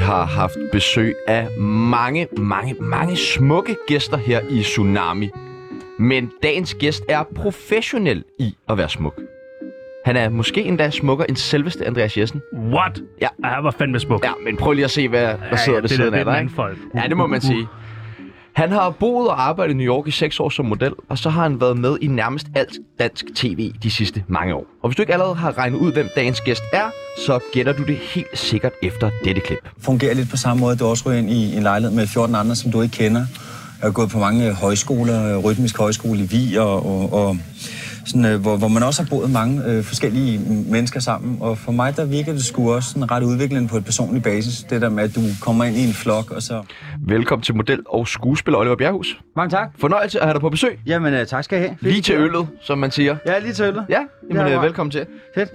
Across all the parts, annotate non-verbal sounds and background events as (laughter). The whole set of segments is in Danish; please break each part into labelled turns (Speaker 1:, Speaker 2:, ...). Speaker 1: har haft besøg af mange, mange, mange smukke gæster her i Tsunami. Men dagens gæst er professionel i at være smuk. Han er måske endda smukkere end selveste Andreas Jessen.
Speaker 2: What?
Speaker 1: Ja.
Speaker 2: Ah, han var fandme smuk.
Speaker 1: Ja, men prøv lige at se, hvad der sidder ved
Speaker 2: det der,
Speaker 1: siden
Speaker 2: det
Speaker 1: af
Speaker 2: er
Speaker 1: dig. ikke?
Speaker 2: en anden folk.
Speaker 1: Ja, det må man sige. Han har boet og arbejdet i New York i 6 år som model, og så har han været med i nærmest alt dansk tv de sidste mange år. Og hvis du ikke allerede har regnet ud, hvem dagens gæst er, så gætter du det helt sikkert efter dette klip.
Speaker 3: fungerer lidt på samme måde, at du også ryger ind i en lejlighed med 14 andre, som du ikke kender. Jeg har gået på mange øh, højskoler, øh, rytmisk højskole i Vig, og, og, og sådan, øh, hvor, hvor man også har boet mange øh, forskellige mennesker sammen. Og for mig, der virker det sgu også sådan ret udviklende på et personligt basis. Det der med, at du kommer ind i en flok, og så...
Speaker 1: Velkommen til model og skuespiller Oliver Bjerghus.
Speaker 4: Mange tak.
Speaker 1: Fornøjelse at have dig på besøg.
Speaker 4: Jamen, øh, tak skal I have. Fedt,
Speaker 1: Lige til
Speaker 4: I gør.
Speaker 1: øllet, som man siger.
Speaker 4: Ja, lige til øllet.
Speaker 1: Ja,
Speaker 4: Det
Speaker 1: jamen,
Speaker 4: er
Speaker 1: øh,
Speaker 4: godt.
Speaker 1: velkommen til.
Speaker 4: Fedt.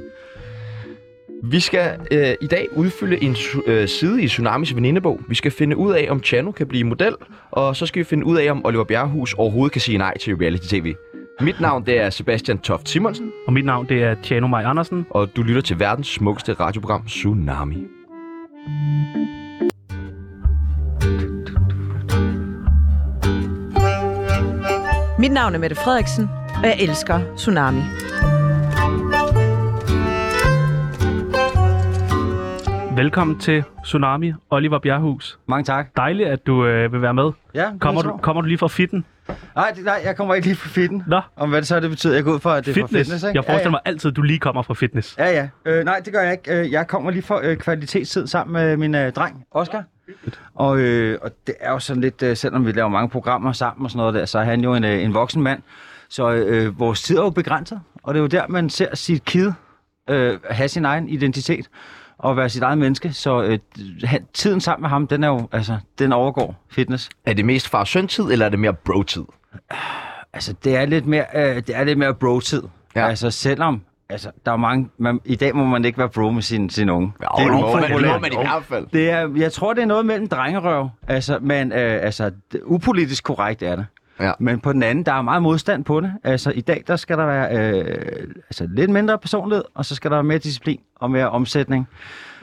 Speaker 1: Vi skal øh, i dag udfylde en su- øh, side i Tsunamis venindebog. Vi skal finde ud af, om Chano kan blive model, og så skal vi finde ud af, om Oliver Bjerrehus overhovedet kan sige nej til reality-tv. Mit navn det er Sebastian Toft Simonsen,
Speaker 2: Og mit navn, det er Tjano Maj Andersen.
Speaker 1: og du lytter til verdens smukkeste radioprogram, Tsunami.
Speaker 5: Mit navn er Mette Frederiksen, og jeg elsker Tsunami.
Speaker 2: Velkommen til Tsunami, Oliver Bjerghus.
Speaker 4: Mange tak.
Speaker 2: Dejligt, at du øh, vil være med.
Speaker 4: Ja, det
Speaker 2: Kommer
Speaker 4: er
Speaker 2: du,
Speaker 4: sjovt.
Speaker 2: kommer du lige fra fitten?
Speaker 4: Nej, det- nej, jeg kommer ikke lige fra fitten.
Speaker 2: Nå.
Speaker 4: Om hvad det så det betyder, jeg går ud fra, at det er
Speaker 2: fitness.
Speaker 4: fra fitness, ikke?
Speaker 2: Jeg forestiller mig altid, at du lige kommer fra fitness.
Speaker 4: Ja, ja. ja. Øh, nej, det gør jeg ikke. Øh, Jeg kommer lige for øh, kvalitetstid sammen med min øh, dreng, Oscar. Og, øh, og det er jo sådan lidt, øh, selvom vi laver mange programmer sammen og sådan noget der, så er han jo en, øh, en voksen mand. Så øh, vores tid er jo begrænset, og det er jo der, man ser sit kid øh, have sin egen identitet og være sit eget menneske. Så øh, han, tiden sammen med ham, den er jo, altså, den overgår fitness.
Speaker 1: Er det mest far søn tid eller er det mere bro-tid?
Speaker 4: Altså, det er lidt mere, øh, det er lidt mere bro-tid.
Speaker 1: Ja.
Speaker 4: Ja. Altså, selvom... Altså, der er mange... Man, I dag må man ikke være bro med sin, sin unge.
Speaker 1: Ja, det må man, det må
Speaker 4: upopulært.
Speaker 1: man i hvert fald.
Speaker 4: Det er, jeg tror, det er noget mellem drengerøv. Altså, men øh, altså, d- upolitisk korrekt er det.
Speaker 1: Ja.
Speaker 4: Men på den anden, der er meget modstand på det. Altså, i dag, der skal der være øh, altså, lidt mindre personlighed, og så skal der være mere disciplin og mere omsætning.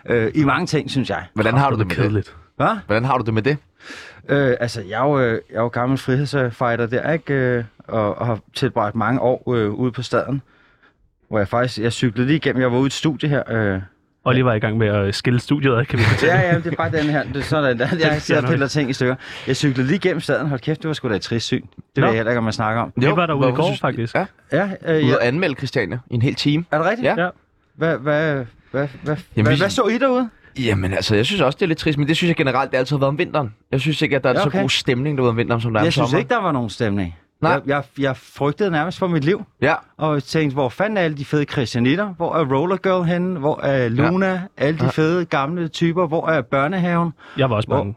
Speaker 4: Øh, I mange ting, synes jeg.
Speaker 1: Hvordan har du det
Speaker 2: det
Speaker 1: med det?
Speaker 2: kedeligt.
Speaker 4: Hvad?
Speaker 1: Hvordan har du det med det?
Speaker 4: Øh, altså, jeg er, jo, øh, jeg er jo gammel frihedsfighter der, ikke? Øh, og, og har tilbragt mange år øh, ude på staden. Hvor jeg faktisk, jeg cyklede lige igennem, jeg var ude i et studie her. Øh.
Speaker 2: Oliver er i gang med at skille studiet, ad, kan vi fortælle.
Speaker 4: Ja, ja, det er bare den her, det er sådan der. Jeg sidder og
Speaker 2: nok.
Speaker 4: piller ting i stykker. Jeg cyklede lige igennem staden, hold kæft, det var sgu da et trist syn. Det
Speaker 2: Nå.
Speaker 4: ved jeg heller ikke, om man snakker om.
Speaker 2: Det var derude i
Speaker 1: hvorfor
Speaker 2: går,
Speaker 1: synes-
Speaker 2: faktisk.
Speaker 1: Ja,
Speaker 4: Ja, øh,
Speaker 1: ude
Speaker 4: ja.
Speaker 1: at anmelde Christiania i en hel time.
Speaker 4: er det rigtigt?
Speaker 1: Ja.
Speaker 2: Ja.
Speaker 4: Hvad, hvad, hvad, hvad,
Speaker 1: Jamen,
Speaker 4: hvad,
Speaker 1: vi-
Speaker 4: hvad så I derude?
Speaker 1: Jamen altså, jeg synes også, det er lidt trist, men det synes jeg generelt, det altid har været om vinteren. Jeg synes ikke, at der er
Speaker 4: Ja,
Speaker 1: så
Speaker 4: okay.
Speaker 1: god stemning derude om vinteren, som der er om
Speaker 4: Jeg synes
Speaker 1: sommeren.
Speaker 4: ikke, der var nogen stemning.
Speaker 1: Nej.
Speaker 4: Jeg, jeg, jeg frygtede nærmest for mit liv.
Speaker 1: Ja,
Speaker 4: og tænkte, hvor fanden er alle de fede Christianitter? Hvor er Roller Girl henne? Hvor er Luna? Ja. Alle de fede gamle typer? Hvor er børnehaven?
Speaker 2: Jeg var også
Speaker 4: Hvor-
Speaker 2: bange.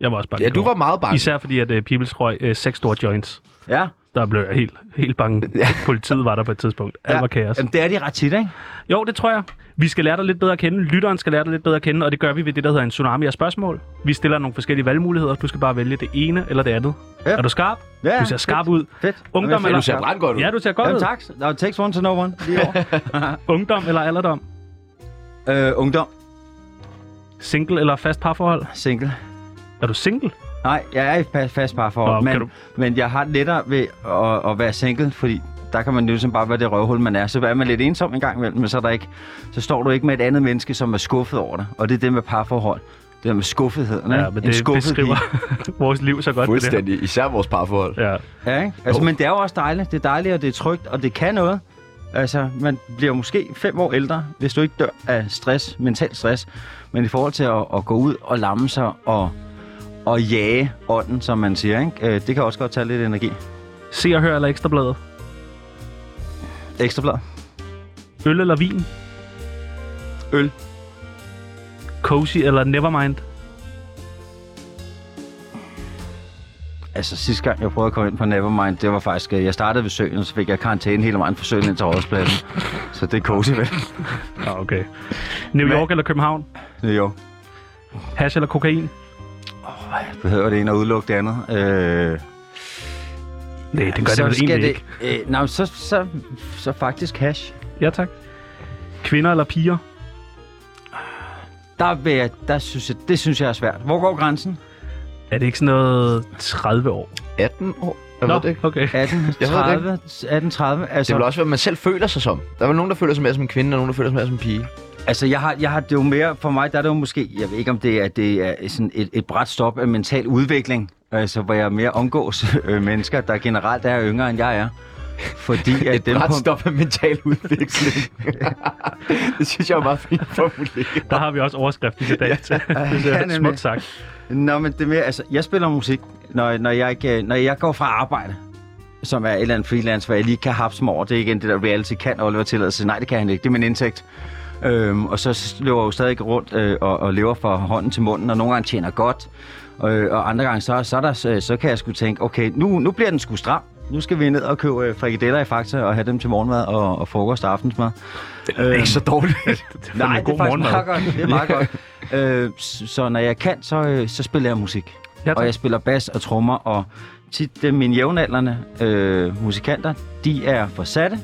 Speaker 2: Jeg var også bange.
Speaker 1: ja
Speaker 2: i
Speaker 1: du
Speaker 2: går.
Speaker 1: var meget bange.
Speaker 2: Især fordi, at uh, Peoples røg uh, seks store joints.
Speaker 4: Ja,
Speaker 2: Der blev jeg helt, helt bange. Ja. Politiet var der på et tidspunkt. Alt
Speaker 4: ja.
Speaker 2: var kaos.
Speaker 4: Jamen, det er de ret tit, ikke?
Speaker 2: Jo, det tror jeg. Vi skal lære dig lidt bedre at kende. Lytteren skal lære dig lidt bedre at kende, og det gør vi ved det, der hedder en tsunami af spørgsmål. Vi stiller nogle forskellige valgmuligheder. Du skal bare vælge det ene eller det andet. Ja.
Speaker 4: Ja.
Speaker 2: Er du skarp?
Speaker 4: Ja,
Speaker 2: du ser skarp ud.
Speaker 4: Fedt.
Speaker 2: Ungdom
Speaker 4: Jamen, jeg
Speaker 2: eller-
Speaker 1: Du ser ret godt ud.
Speaker 2: Ja, du ser godt
Speaker 4: Jamen,
Speaker 2: ud.
Speaker 4: tak. Der er takes one to know one. Lige over.
Speaker 2: (laughs) Ungdom eller alderdom?
Speaker 4: øh, ungdom.
Speaker 2: Single eller fast parforhold?
Speaker 4: Single.
Speaker 2: Er du single?
Speaker 4: Nej, jeg er i fa- fast parforhold,
Speaker 2: Nå, kan
Speaker 4: men,
Speaker 2: du-
Speaker 4: men jeg har lettere ved at, at være single, fordi der kan man jo ligesom bare være det røvhul, man er. Så er man lidt ensom en gang imellem, men så, er der ikke, så står du ikke med et andet menneske, som er skuffet over dig. Og det er det med parforhold. Det der med skuffetheden,
Speaker 2: Ja,
Speaker 4: ikke?
Speaker 2: men
Speaker 4: en
Speaker 2: det
Speaker 4: skuffet
Speaker 2: beskriver (laughs) vores liv så godt. det der.
Speaker 1: Fuldstændig. Især vores parforhold.
Speaker 2: Ja.
Speaker 4: Ja, ikke? Altså,
Speaker 1: Jo.
Speaker 4: men det er jo også dejligt. Det er dejligt, og det er trygt, og det kan noget. Altså, man bliver måske fem år ældre, hvis du ikke dør af stress, mental stress. Men i forhold til at, at gå ud og lamme sig og, og jage ånden, som man siger, ikke? Øh, det kan også godt tage lidt energi.
Speaker 2: Se og hør eller ekstrabladet?
Speaker 4: Ekstrablad.
Speaker 2: Øl eller vin?
Speaker 4: Øl.
Speaker 2: Cozy eller Nevermind?
Speaker 4: Altså, sidste gang, jeg prøvede at komme ind på Nevermind, det var faktisk... øh, Jeg startede ved søen, og så fik jeg karantæne hele vejen fra søen ind til rådspladsen. så det er cozy,
Speaker 1: (laughs)
Speaker 4: vel?
Speaker 2: Ja, okay. New York eller København?
Speaker 4: Jo.
Speaker 2: Hash eller kokain?
Speaker 4: Behøver det ene at udelukke det andet? Øh...
Speaker 2: Nej, det gør det vel egentlig ikke.
Speaker 4: Øh, nej, så, så, så faktisk hash.
Speaker 2: Ja, tak. Kvinder eller piger?
Speaker 4: der, vil jeg, der synes jeg, det synes jeg er svært. Hvor går
Speaker 1: (laughs)
Speaker 4: grænsen?
Speaker 2: Er det ikke sådan noget 30 år?
Speaker 1: 18 år? Jeg
Speaker 2: Nå,
Speaker 1: ved det ikke.
Speaker 2: okay.
Speaker 4: 18,
Speaker 1: Jeg ved det
Speaker 4: 30, 18, 30.
Speaker 1: Det er
Speaker 4: Altså,
Speaker 1: vel også, hvad man selv føler sig som. Der er vel nogen, der føler sig mere som en kvinde, og nogen, der føler sig mere som en pige.
Speaker 4: altså jeg, har, jeg har det jo mere, for mig der er det jo måske, jeg ved ikke om det er, det er sådan et, et bræt stop af mental udvikling, altså hvor jeg mere omgås (laughs) øh, mennesker, der generelt er yngre end jeg er. Fordi at
Speaker 1: (laughs) Et
Speaker 4: dem
Speaker 1: ret
Speaker 4: på,
Speaker 1: stop af mental (laughs) udvikling. det synes jeg er meget fint formuleret.
Speaker 2: Der har vi også overskriften til dag. til. det
Speaker 4: ja,
Speaker 2: er
Speaker 4: nemlig.
Speaker 2: smukt sagt.
Speaker 4: Nå, men det er mere, altså, jeg spiller musik, når, når, jeg, ikke, øh, når jeg går fra arbejde, som er et eller andet freelance, hvor jeg lige kan hapse mig over. Det er igen det der reality, kan Oliver tillade sig? Nej, det kan han ikke. Det er min indtægt. Øhm, og så løber jeg jo stadig rundt øh, og, og lever fra hånden til munden, og nogle gange tjener godt, øh, og andre gange så, så, er der, så, så kan jeg sgu tænke, okay, nu, nu bliver den sgu stram. Nu skal vi ned og købe øh, frikadeller i Fakta og have dem til morgenmad og, og frokost og aftensmad. Øhm,
Speaker 1: Det er ikke så
Speaker 4: (laughs)
Speaker 1: dårligt.
Speaker 2: Det er
Speaker 4: Nej,
Speaker 2: Nej,
Speaker 4: det er
Speaker 2: god
Speaker 4: faktisk
Speaker 2: morgenmad.
Speaker 4: meget godt. Det er meget godt. Øh, s- så når jeg kan, så, øh, så spiller jeg musik.
Speaker 2: Ja,
Speaker 4: og
Speaker 2: tak.
Speaker 4: jeg spiller bas og trommer, og tit øh, mine jævnaldrende øh, musikanter, de er forsatte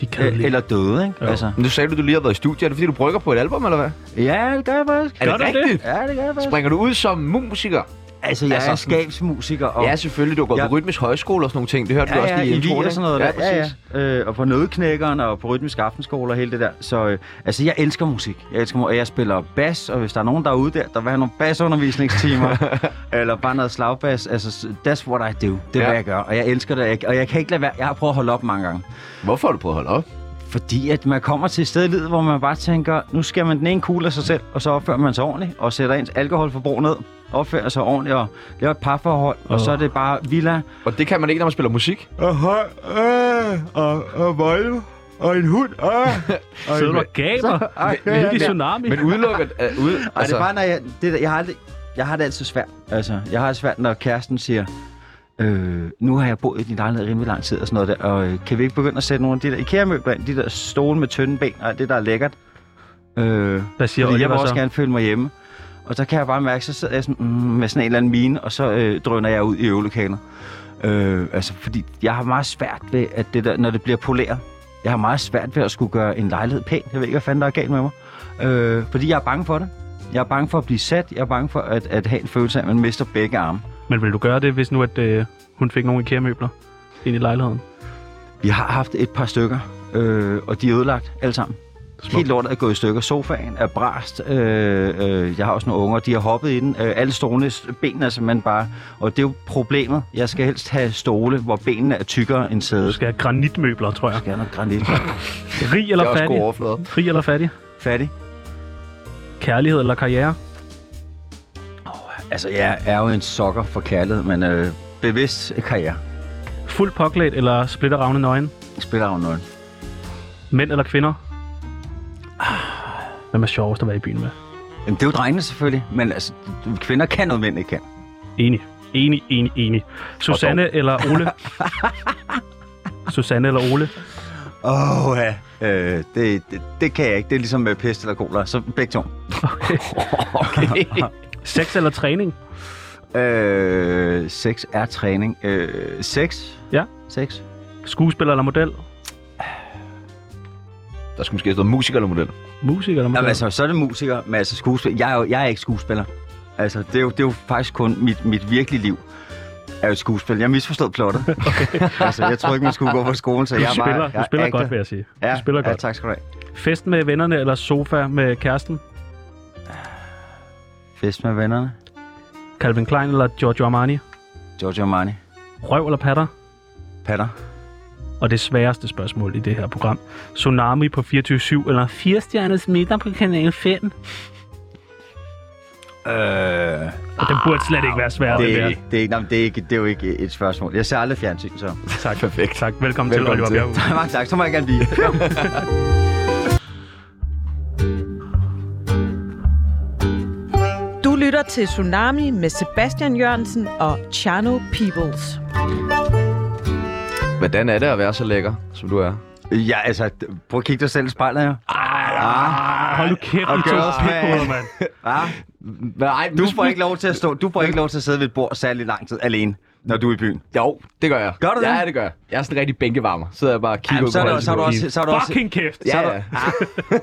Speaker 2: De
Speaker 4: øh,
Speaker 2: kedelige.
Speaker 4: eller døde, ikke?
Speaker 2: Jo.
Speaker 4: Altså,
Speaker 1: Men nu sagde du, du lige har været i studiet. Er det fordi, du brygger på et album, eller hvad?
Speaker 4: ja, det gør jeg faktisk.
Speaker 1: Er
Speaker 2: Gør du
Speaker 1: det
Speaker 2: det?
Speaker 1: rigtigt?
Speaker 4: Ja, det gør jeg faktisk.
Speaker 1: Springer du ud som musiker?
Speaker 4: Altså, jeg
Speaker 1: Altså,
Speaker 4: er
Speaker 1: sådan-
Speaker 4: skabsmusiker, og
Speaker 1: Ja, selvfølgelig. Du har gået
Speaker 4: Ja.
Speaker 1: på rytmisk højskole og sådan nogle ting. Det hørte du også lige
Speaker 4: i
Speaker 1: introen,
Speaker 4: Wien og
Speaker 1: ikke?
Speaker 4: sådan noget.
Speaker 1: Ja,
Speaker 4: der.
Speaker 1: præcis.
Speaker 4: ja, ja. Øh, og på nødknækkeren og på rytmisk aftenskole og hele det der. Så øh, altså, jeg elsker musik. Jeg elsker mu- og jeg spiller bas, og hvis der er nogen derude der, der vil have nogle basundervisningstimer,
Speaker 1: (laughs)
Speaker 4: eller bare noget slagbas, altså, s- that's what I do. Det er,
Speaker 1: Ja.
Speaker 4: hvad jeg gør. Og jeg elsker det, og jeg, og jeg kan ikke lade være. Jeg har prøvet at holde op mange gange.
Speaker 1: Hvorfor har du prøvet at holde op?
Speaker 4: Fordi at man kommer til et sted i livet, hvor man bare tænker, nu skal man den ene kugle af sig selv, og så opfører man sig ordentligt, og sætter ens alkoholforbrug ned, opfører sig ordentligt, og laver et parforhold, og så er det bare villa,
Speaker 1: Og det kan man ikke, når man spiller musik.
Speaker 2: Sidder du og gaber? Midt i tsunami?
Speaker 1: Men udelukket... Uh, ud,
Speaker 4: Ej, altså, det er bare, når jeg, det, der- jeg, har aldrig, jeg har det altid svært. Altså, jeg har det svært, når kæresten siger, øh, nu har jeg boet i din lejlighed rimelig lang tid og sådan noget der, og øh, kan vi ikke begynde at sætte nogle af de der IKEA-møbler ind, de der stole med tynde ben, og alt det der er lækkert. Øh,
Speaker 2: Hvad siger
Speaker 4: fordi jeg vil
Speaker 2: Oliver
Speaker 4: også
Speaker 2: så?
Speaker 4: gerne føle mig hjemme. Og så kan jeg bare mærke, så sidder jeg sådan, mm, med sådan en eller anden mine, og så øh, drøner jeg ud i øvelokalet. Øh, altså, fordi jeg har meget svært ved, at det der, når det bliver poleret. Jeg har meget svært ved at skulle gøre en lejlighed pæn. Jeg ved ikke, hvad fanden der er galt med mig. Øh, fordi jeg er bange for det. Jeg er bange for at blive sat. Jeg er bange for at, at have en følelse af, at man mister begge arme.
Speaker 2: Men vil du gøre det, hvis nu at, øh, hun fik nogle IKEA-møbler ind i lejligheden?
Speaker 4: Vi har haft et par stykker, øh, og de er ødelagt alle sammen. Smukt. Helt lortet er gået i stykker. Sofaen er brast. Øh, øh, jeg har også nogle unger, de har hoppet i den. Øh, alle stolene, benene er simpelthen bare... Og det er jo problemet. Jeg skal helst have stole, hvor benene er tykkere end
Speaker 2: Du
Speaker 4: sædet.
Speaker 2: skal have granitmøbler, tror jeg.
Speaker 4: Jeg har noget granit.
Speaker 2: Rig
Speaker 1: det
Speaker 2: eller
Speaker 1: er også
Speaker 2: fattig?
Speaker 1: god overflade.
Speaker 2: Rig eller fattig?
Speaker 4: Fattig.
Speaker 2: Kærlighed eller karriere?
Speaker 4: Altså, jeg er jo en sokker for kærlighed, men øh, bevidst karriere.
Speaker 2: Fuld påklædt eller splitter ravne nøgen?
Speaker 4: Jeg spiller jo noget.
Speaker 2: Mænd eller kvinder? Ah, Hvem er sjovest at være i byen med?
Speaker 4: Jamen, det er jo drengene selvfølgelig, men altså, kvinder kan noget, mænd ikke kan.
Speaker 2: Enig. Enig, enig, enig. Susanne eller
Speaker 4: (laughs)
Speaker 2: Ole? Susanne eller Ole?
Speaker 4: Åh, oh, ja. Øh, det, det, det, kan jeg ikke. Det er ligesom med pest eller cola. Så begge to. (laughs)
Speaker 2: Sex eller træning?
Speaker 4: Øh, sex er træning. Øh, sex?
Speaker 2: Ja.
Speaker 4: Sex?
Speaker 2: Skuespiller eller model?
Speaker 1: Der skulle måske have stået musik eller model.
Speaker 2: Musiker eller model?
Speaker 4: Jamen, altså, så er det musiker, men altså skuespiller. Jeg er jo jeg er ikke skuespiller. Altså, det er jo, det er jo faktisk kun mit, mit virkelige liv er jo et skuespil. Jeg misforstod
Speaker 2: (laughs)
Speaker 4: plottet. Okay. (laughs) altså, jeg tror ikke, man skulle gå på skolen, så
Speaker 2: du,
Speaker 4: jeg er bare...
Speaker 2: spiller,
Speaker 4: jeg
Speaker 2: du spiller
Speaker 4: er
Speaker 2: godt,
Speaker 4: actor.
Speaker 2: vil jeg sige.
Speaker 4: Ja,
Speaker 2: du spiller
Speaker 4: ja,
Speaker 2: godt.
Speaker 4: tak skal du have.
Speaker 2: Fest med vennerne eller sofa med kæresten?
Speaker 4: Fest med vennerne.
Speaker 2: Calvin Klein eller Giorgio Armani?
Speaker 4: Giorgio Armani.
Speaker 2: Røv eller patter?
Speaker 4: Patter.
Speaker 2: Og det sværeste spørgsmål i det her program. Tsunami på 24-7 eller 4-stjernes middag på kanal 5?
Speaker 4: Øh,
Speaker 2: Og den burde slet ikke være svær.
Speaker 4: Ah, det, er
Speaker 2: der.
Speaker 4: ikke, det, er ikke, nej, det, er ikke, det er jo ikke et spørgsmål. Jeg ser aldrig fjernsyn, så...
Speaker 2: Tak. Perfekt. Tak. Velkommen, til,
Speaker 4: Velkommen
Speaker 2: Oliver
Speaker 4: til. (laughs)
Speaker 2: Bjerg.
Speaker 4: Mange tak, så må jeg gerne blive.
Speaker 2: (laughs)
Speaker 5: Du lytter til Tsunami med Sebastian Jørgensen og Chano Peoples.
Speaker 1: Hvordan er det at være så lækker, som du er?
Speaker 4: Ja, altså, prøv at kigge dig selv i spejlet, jo.
Speaker 2: Ah.
Speaker 4: Ah,
Speaker 2: Hold nu kæft,
Speaker 4: Og
Speaker 2: I to
Speaker 4: girls,
Speaker 2: pikhoveder, mand.
Speaker 4: Ah,
Speaker 1: Nej,
Speaker 4: du får ikke lov til at stå, du får ikke lov til at sidde ved et bord særlig lang tid alene. når du er i byen?
Speaker 1: Jo, det gør jeg.
Speaker 4: Gør du
Speaker 1: ja,
Speaker 4: det?
Speaker 1: Ja, det gør jeg. Jeg er sådan en rigtig bænkevarmer. Sidder jeg bare og kigger
Speaker 4: Jamen, så, er
Speaker 1: på
Speaker 4: der,
Speaker 1: alle
Speaker 4: så, har du
Speaker 1: de
Speaker 4: også, så, har du også,
Speaker 2: Fucking kæft!
Speaker 1: Ja,
Speaker 4: så er ah.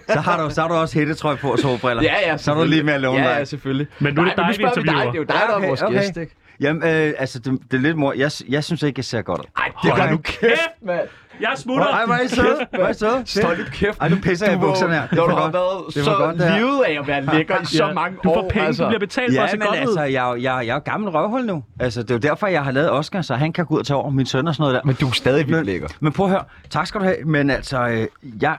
Speaker 1: ja.
Speaker 4: så, har du, så har du også hættetrøj på og solbriller.
Speaker 1: Ja, ja,
Speaker 4: Så er du lige med at låne
Speaker 1: ja,
Speaker 4: dig.
Speaker 1: ja, selvfølgelig.
Speaker 2: Men nu er det
Speaker 1: Nej,
Speaker 2: dig,
Speaker 1: men
Speaker 2: vi
Speaker 1: spørger
Speaker 2: interviewer.
Speaker 1: dig. Det er jo dig, der er vores gæst, ikke?
Speaker 4: Jamen, øh, altså, det, det er lidt mor. Jeg, jeg synes ikke, jeg ser godt ud.
Speaker 1: Ej, det
Speaker 2: Hold
Speaker 1: gør
Speaker 2: nu
Speaker 1: du kæft, mand.
Speaker 2: Jeg smutter!
Speaker 4: Ej, hvor er I søde. Hvor er I søde.
Speaker 1: Stå lidt kæft.
Speaker 4: Ej, nu pisser jeg i
Speaker 1: Du må-
Speaker 4: bukserne her. Det
Speaker 1: Når
Speaker 4: er
Speaker 1: du
Speaker 4: for
Speaker 1: har
Speaker 4: godt.
Speaker 1: været
Speaker 4: Det er
Speaker 1: så
Speaker 4: for godt, det her.
Speaker 1: livet af at være lækker i så
Speaker 2: Ja,
Speaker 1: mange
Speaker 2: du
Speaker 1: år. altså.
Speaker 2: får penge, du bliver betalt for at
Speaker 4: Ja,
Speaker 2: se
Speaker 4: men
Speaker 2: godt
Speaker 4: altså,
Speaker 2: ud.
Speaker 4: jeg, er jo- jeg, jeg er jo gammel røvhul nu. Altså, det er jo derfor, jeg har lavet Oscar, så han kan gå ud og tage over min søn og sådan noget der.
Speaker 1: Men du er stadig vildt
Speaker 4: Men,
Speaker 1: lækker.
Speaker 4: men prøv at høre. Tak skal du have. Men altså, øh, jeg,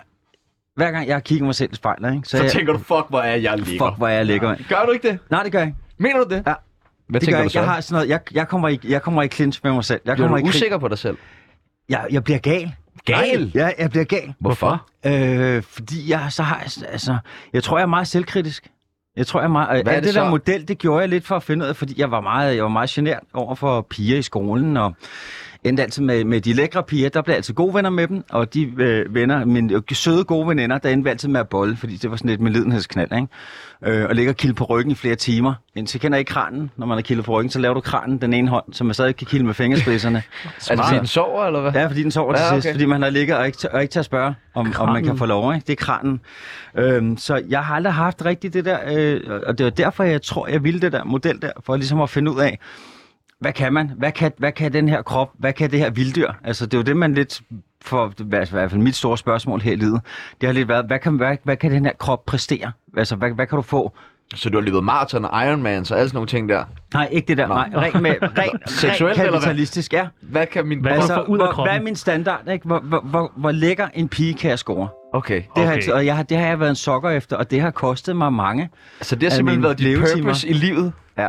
Speaker 4: hver gang jeg kigger mig selv i spejlet, ikke, så,
Speaker 1: Så
Speaker 4: jeg,
Speaker 1: tænker du, fuck, hvor er jeg lækker.
Speaker 4: fuck, hvor er jeg lækker, mand.
Speaker 1: Gør du ikke det?
Speaker 4: Nej, det gør jeg ikke.
Speaker 1: Mener du det?
Speaker 4: Ja.
Speaker 1: Hvad
Speaker 4: Det
Speaker 1: tænker
Speaker 4: gør
Speaker 1: du
Speaker 4: jeg ikke.
Speaker 1: så?
Speaker 4: Jeg har sådan noget, jeg, jeg, kommer i, jeg kommer i clinch med mig selv. Jeg
Speaker 1: Bliver
Speaker 4: kommer
Speaker 1: du
Speaker 4: i
Speaker 1: usikker på dig selv?
Speaker 4: clinch- Jeg, jeg bliver gal.
Speaker 1: Gal?
Speaker 4: Ja, jeg bliver gal.
Speaker 1: Hvorfor?
Speaker 4: Øh, fordi jeg så har, jeg- altså, jeg tror, jeg er meget selvkritisk. Jeg tror, jeg er meget,
Speaker 1: Hvad
Speaker 4: Hvad
Speaker 1: er
Speaker 4: er det,
Speaker 1: det
Speaker 4: det der
Speaker 1: så?
Speaker 4: model, det gjorde jeg lidt for at finde ud af, fordi jeg var meget, jeg var meget genert over for piger i skolen, og endte altid med, med de lækre piger, der blev altid gode venner med dem, og de øh, venner, mine søde gode veninder, der endte vi altid med at bolle, fordi det var sådan lidt med lidenhedsknald, ikke? Øh, og ligge og kilde på ryggen i flere timer, indtil jeg kender ikke kranen. Når man har kildet på ryggen, så laver du kranen den ene hånd, så man stadig kan kilde med
Speaker 1: (laughs)
Speaker 4: fingerspidserne.
Speaker 1: Altså, fordi den sover, eller hvad?
Speaker 4: Ja, fordi den sover til
Speaker 1: Ja,
Speaker 4: ja,
Speaker 1: okay.
Speaker 4: okay. sidst, fordi man har ligget og ikke, t- og ikke til at spørge, om, om man kan få lov. Ikke? Det er kranen. Øhm, så jeg har aldrig haft rigtigt det der, øh, og det var derfor, jeg tror, jeg ville det der model der, for ligesom at finde ud af, hvad kan man? Hvad kan, hvad kan den her krop? Hvad kan det her vilddyr? Altså, det er jo det, man lidt for altså, i hvert fald mit store spørgsmål her i livet, det har lidt været, hvad kan, hvad, hvad kan den her krop præstere? Altså, hvad, hvad kan du få?
Speaker 1: Så du har løbet maraton og Ironman, så alle sådan nogle ting der.
Speaker 4: Nej, ikke det der.
Speaker 1: Nå.
Speaker 4: Nej, rent med,
Speaker 1: (laughs)
Speaker 4: rent,
Speaker 1: Seksuelt,
Speaker 4: rent
Speaker 1: eller hvad?
Speaker 4: kapitalistisk, ja.
Speaker 1: Hvad kan min...
Speaker 2: Hvad er
Speaker 4: Altså,
Speaker 2: får ud af
Speaker 4: hvor,
Speaker 2: kroppen.
Speaker 4: hvad er min standard? Ikke? Hvor, hvor, hvor, hvor lækker en pige kan jeg score?
Speaker 1: Okay.
Speaker 4: Det, okay. har
Speaker 2: Okay.
Speaker 4: jeg, altid- og jeg, har- det har jeg været en sokker efter, og det har kostet mig mange.
Speaker 1: Så det har
Speaker 4: Er
Speaker 1: simpelthen
Speaker 4: mine
Speaker 1: været dit
Speaker 4: levetimer.
Speaker 1: purpose i livet.
Speaker 4: Ja.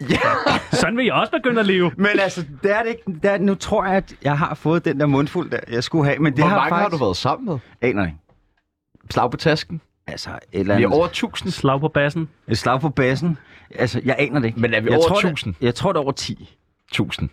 Speaker 4: altså-
Speaker 2: Sådan vil jeg også begynde at leve.
Speaker 4: Men altså, det er det ikke. Det er, nu tror jeg, at jeg har fået den der mundfuld, der jeg skulle have. Men det
Speaker 1: Hvor
Speaker 4: har
Speaker 1: mange
Speaker 4: faktisk...
Speaker 1: har du været sammen med?
Speaker 4: Aner ikke.
Speaker 1: Slag på tasken.
Speaker 4: Altså, et eller
Speaker 1: Vi
Speaker 4: andet.
Speaker 1: er over 1000.
Speaker 2: Slag på bassen.
Speaker 4: Et slag på bassen. Altså, jeg aner det ikke.
Speaker 1: Men er vi
Speaker 4: jeg
Speaker 1: over
Speaker 4: tror, det-
Speaker 1: 1000?
Speaker 4: Jeg tror, det er over 10.
Speaker 1: 1000.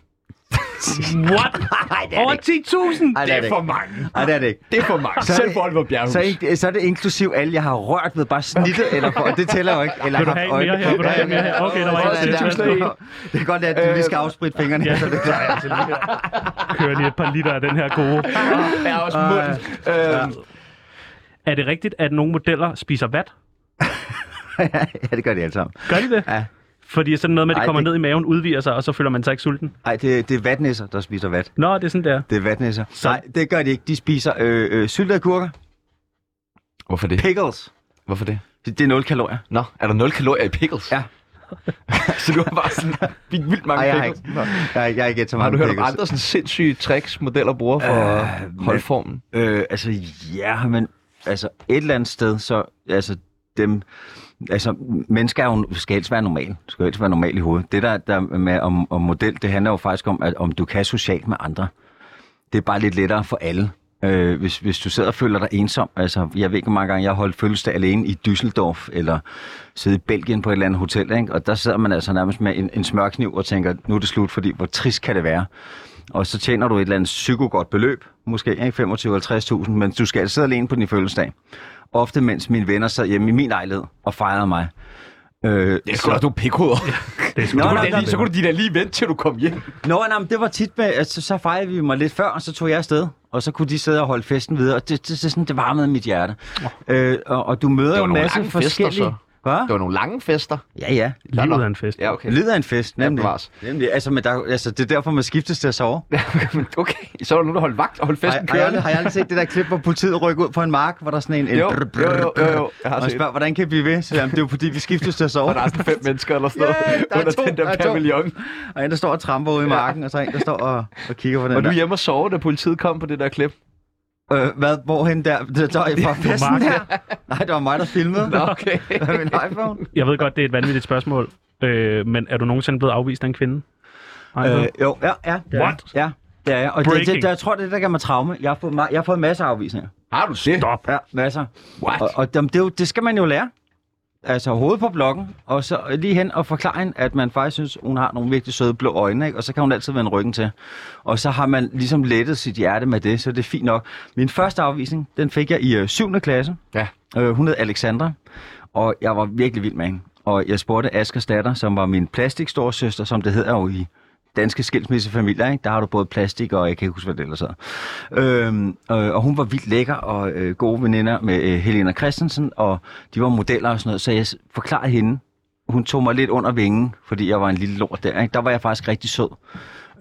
Speaker 2: What?
Speaker 4: (laughs) Nej, det
Speaker 2: Over 10.000?
Speaker 4: Ej, det er det ikke.
Speaker 1: mange.
Speaker 4: Ej, det er det ikke.
Speaker 1: Det er for mange.
Speaker 4: Så er
Speaker 1: Selv
Speaker 4: det-
Speaker 1: for Oliver Bjerghus.
Speaker 4: Så er, ikke, så er det inklusiv alle, jeg har rørt ved, bare snittet okay. eller for, og det tæller jo ikke. Eller
Speaker 2: Vil du
Speaker 4: haft
Speaker 2: have en mere
Speaker 4: øjne-
Speaker 2: her? Vil du have en mere her? Okay, der var
Speaker 1: Sådan
Speaker 2: en til.
Speaker 1: der.
Speaker 2: Tusind
Speaker 1: Tusind
Speaker 2: tak.
Speaker 1: og
Speaker 4: Det kan godt være, at du lige skal afspritte fingrene. (laughs)
Speaker 2: Ja,
Speaker 4: Ja.
Speaker 2: det klarer jeg til lige her. Kører lige et par liter af den her
Speaker 4: (laughs)
Speaker 2: gode.
Speaker 1: Jeg er også
Speaker 4: Øh.
Speaker 1: munden. Øhm,
Speaker 2: Er det rigtigt, at nogle modeller spiser vat?
Speaker 4: ja, det gør de alle sammen.
Speaker 2: Gør de det?
Speaker 4: Ja.
Speaker 2: Fordi sådan noget med, at det
Speaker 4: Ej,
Speaker 2: kommer
Speaker 4: det-
Speaker 2: ned i maven, udvider sig, og så føler man sig ikke sulten.
Speaker 4: Nej, det, det er vatnæsser, der spiser vat.
Speaker 2: Nå, det er sådan der.
Speaker 4: Det er vatnæsser.
Speaker 2: Så-
Speaker 4: Nej, det gør de ikke. De spiser øh, øh, syltede agurker.
Speaker 1: Hvorfor det?
Speaker 4: Pickles.
Speaker 1: Hvorfor det?
Speaker 4: Det er 0 kalorier.
Speaker 1: Nå, er der 0 kalorier i pickles?
Speaker 4: Ja.
Speaker 1: (laughs) så du har bare sådan vildt, vildt mange
Speaker 4: Ej, jeg har
Speaker 1: pickles.
Speaker 4: ikke, jeg, jeg har ikke et så
Speaker 1: Har
Speaker 4: mange
Speaker 1: du hørt om
Speaker 4: pickles.
Speaker 1: andre sådan sindssyge tricks, modeller bruger for øh, at holde
Speaker 4: men-
Speaker 1: formen?
Speaker 4: Øh, altså, ja, men altså, et eller andet sted, så altså, dem, altså, mennesker er jo, skal helst være normal. Skal helst være normal i hovedet. Det der, der med om, om model, det handler jo faktisk om, at, om du kan socialt med andre. Det er bare lidt lettere for alle. Øh, hvis, hvis du sidder og føler dig ensom, altså jeg ved ikke, hvor mange gange jeg har holdt fødselsdag alene i Düsseldorf, eller siddet i Belgien på et eller andet hotel, ikke? og der sidder man altså nærmest med en, en smørkniv og tænker, nu er det slut, fordi hvor trist kan det være? Og så tjener du et eller andet psykogodt beløb, måske ikke 25-50.000, men du skal altså sidde alene på din fødselsdag. Ofte mens mine venner sad hjemme i min lejlighed og fejrede mig. Øh,
Speaker 1: Det er sgu da også nogle pikhoveder.
Speaker 2: Det er sgu
Speaker 4: Nå,
Speaker 2: da-
Speaker 4: nå, nå.
Speaker 1: så kunne du de da lige vente, til du kom hjem.
Speaker 4: Nå, nej, men det var tit med, altså, så fejrede vi mig lidt før, og så tog jeg afsted. Og så kunne de sidde og holde festen videre, og det, det, det, sådan, det varmede mit hjerte. Øh, og, og, du møder
Speaker 1: Det
Speaker 4: jo
Speaker 1: var
Speaker 4: en
Speaker 1: nogle
Speaker 4: masse
Speaker 1: lange fester,
Speaker 4: forskellige...
Speaker 1: så. Det
Speaker 4: Hva?
Speaker 1: var nogle lange fester.
Speaker 4: Ja, ja.
Speaker 2: Livet er en fest.
Speaker 1: Ja, okay.
Speaker 4: Lider af en fest,
Speaker 1: Ja,
Speaker 4: nemlig.
Speaker 1: bevares.
Speaker 4: nemlig. Altså, men der, altså, det er derfor, man skiftes til at sove.
Speaker 1: Men (laughs) okay, så var der nogen, der holdt vagt og holdt
Speaker 4: Har,
Speaker 1: festen
Speaker 4: har, jeg, aldrig-
Speaker 1: kørende.
Speaker 4: har jeg aldrig set det der klip, hvor politiet rykker ud på en mark, hvor der er sådan en... en
Speaker 1: Jo,
Speaker 4: brr, brr,
Speaker 1: jo, jo, jo, jo, jeg har
Speaker 4: og
Speaker 1: set.
Speaker 4: spørger, hvordan kan vi blive ved? Så jamen, det er jo fordi, vi skiftes til at
Speaker 1: (laughs)
Speaker 4: sove.
Speaker 1: Og der er sådan fem mennesker eller sådan noget
Speaker 4: Yeah, der er
Speaker 1: under
Speaker 4: to,
Speaker 1: den der
Speaker 4: der er to.
Speaker 1: pavillon.
Speaker 4: Og en, der står og tramper ude i marken, og så en, der står og, og kigger på den
Speaker 1: Var du
Speaker 4: der.
Speaker 1: hjemme og sove, da politiet kom på det der klip?
Speaker 4: Øh, hvad? Hvorhen der? Det der fra festen
Speaker 2: marken.
Speaker 4: her? Nej, det var mig, der filmede.
Speaker 1: Nå, (laughs) okay.
Speaker 4: (laughs) Med min iPhone.
Speaker 2: Jeg ved godt, det er et vanvittigt spørgsmål, øh, men er du nogensinde blevet afvist af en kvinde? Ej,
Speaker 4: Øh,
Speaker 2: øh,
Speaker 4: jo, ja, ja. ja.
Speaker 2: What?
Speaker 4: Ja, det er jeg. Og det,
Speaker 2: Breaking.
Speaker 4: det, det, jeg tror, det er det, der gør mig traume. Jeg har fået, ma- jeg har fået masser af afvisninger.
Speaker 1: Har du det?
Speaker 2: Stop.
Speaker 4: Ja, masser.
Speaker 1: What?
Speaker 4: Og, og dem, det, er jo, det skal man jo lære. Altså hovedet på blokken, og så lige hen og forklare hende, at man faktisk synes, hun har nogle virkelig søde blå øjne, ikke? og så kan hun altid vende ryggen til. Og så har man ligesom lettet sit hjerte med det, så det er fint nok. Min første afvisning, den fik jeg i øh, 7. klasse.
Speaker 1: Ja.
Speaker 4: Øh, hun hed Alexandra, og jeg var virkelig vild med hende. Og jeg spurgte Askers datter, som var min plastikstorsyster, som det hedder jo i danske skilsmissefamilier, ikke? der har du både plastik og jeg kan ikke huske, hvad det ellers hedder. Øhm, øh, og hun var vildt lækker og øh, gode veninder med øh, Helena Christensen, og de var modeller og sådan noget, så jeg s- forklarede hende, hun tog mig lidt under vingen, fordi jeg var en lille lort der. Ikke? Der var jeg faktisk rigtig sød.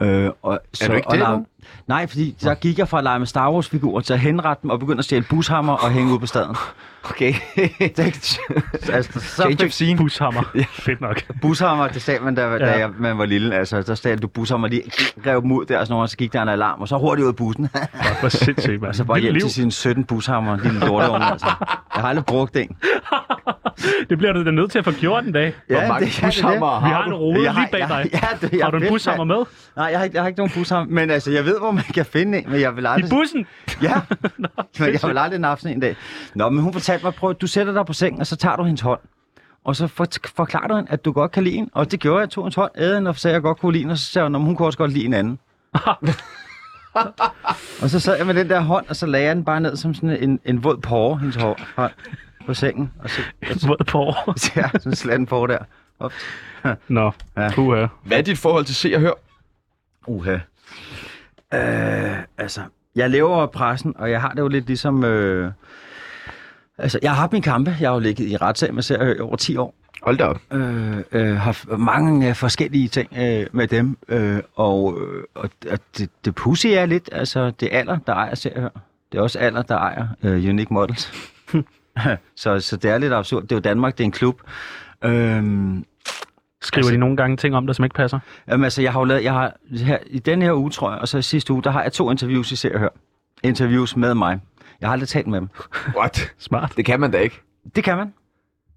Speaker 4: Øh, og, så,
Speaker 1: du ikke
Speaker 4: og
Speaker 1: det
Speaker 4: lege-
Speaker 1: nu?
Speaker 4: Nej, fordi der gik jeg fra at lege med Star Wars-figurer til at henrette dem og begynde at stjæle bushammer og hænge ud på staden.
Speaker 1: Okay.
Speaker 4: (laughs) altså, så
Speaker 1: Change of scene.
Speaker 2: Bushammer. Fedt nok.
Speaker 4: bushammer, det sagde man, da, ja.
Speaker 2: Ja.
Speaker 4: da jeg, man var lille. Altså, der stjal du bushammer lige, rev dem ud der, og, sådan noget, og så gik der en alarm, og så hurtigt ud af bussen. (laughs)
Speaker 2: Fuck, hvor sindssygt, mand.
Speaker 4: og så Altså, bare
Speaker 2: Vildt
Speaker 4: hjem
Speaker 2: liv.
Speaker 4: til sine 17 bushammer, lille lorteunge. Altså. Jeg har aldrig
Speaker 2: (laughs)
Speaker 4: brugt en.
Speaker 2: Det bliver du da nødt til at få gjort en dag.
Speaker 1: Hvor mange bushammer
Speaker 2: Vi har en rode
Speaker 4: Jeg har-
Speaker 2: lige bag
Speaker 4: jeg-
Speaker 2: dig.
Speaker 4: (laughs) ja, det- jeg
Speaker 2: har du en
Speaker 4: ved,
Speaker 2: bushammer med?
Speaker 4: Nej, jeg har, ikke, jeg har ikke nogen bushammer, men altså, jeg ved, hvor man kan finde en, men jeg vil
Speaker 2: I
Speaker 4: aldrig...
Speaker 2: bussen?
Speaker 4: Ja, men (laughs) jeg vil aldrig nappe sådan en dag. Nå, men hun fortalte mig, prøv, at- du sætter dig på sengen, og så tager du hendes hånd. Og så for, forklarer du hende, at du godt kan lide hende. Og det gjorde jeg, jeg tog hendes hånd, ædede hende, og sagde, at jeg godt kunne lide hende, og så sagde hun, "Nå, men hun kunne også godt lide en anden. og så sad jeg med den der hånd, og så lagde jeg den bare ned som sådan en, en våd porre, hendes hår, hånd, på sengen. Og så,
Speaker 2: Våd på år.
Speaker 4: så ja, sådan en slatten porre der. Op.
Speaker 2: Nå,
Speaker 4: Ja.
Speaker 2: puha.
Speaker 1: Hvad er dit forhold til se og hør?
Speaker 4: Uha. Øh, altså, jeg lever af pressen, og jeg har det jo lidt ligesom... Øh, altså, jeg har haft mine kampe. Jeg har jo ligget i retssag med serier i over 10 år.
Speaker 1: Hold da op.
Speaker 4: Øh, øh, haft mange øh, forskellige ting øh, med dem. Øh, og øh, og og det, det pussy er lidt, altså, det er alder, der ejer serier. Det er også alder, der ejer øh, Unique Models. (laughs) så, så det er lidt absurd. Det er jo Danmark, det er en klub. Øh,
Speaker 2: Skriver altså, de nogle gange ting om dig, som ikke passer?
Speaker 4: Jamen altså, jeg har jo lavet, jeg har, her, i denne her uge, tror jeg, og så i sidste uge, der har jeg to interviews i Se og Hør. Interviews med mig. Jeg har aldrig talt med dem.
Speaker 1: What?
Speaker 2: Smart.
Speaker 1: Det kan man da ikke.
Speaker 4: Det kan man.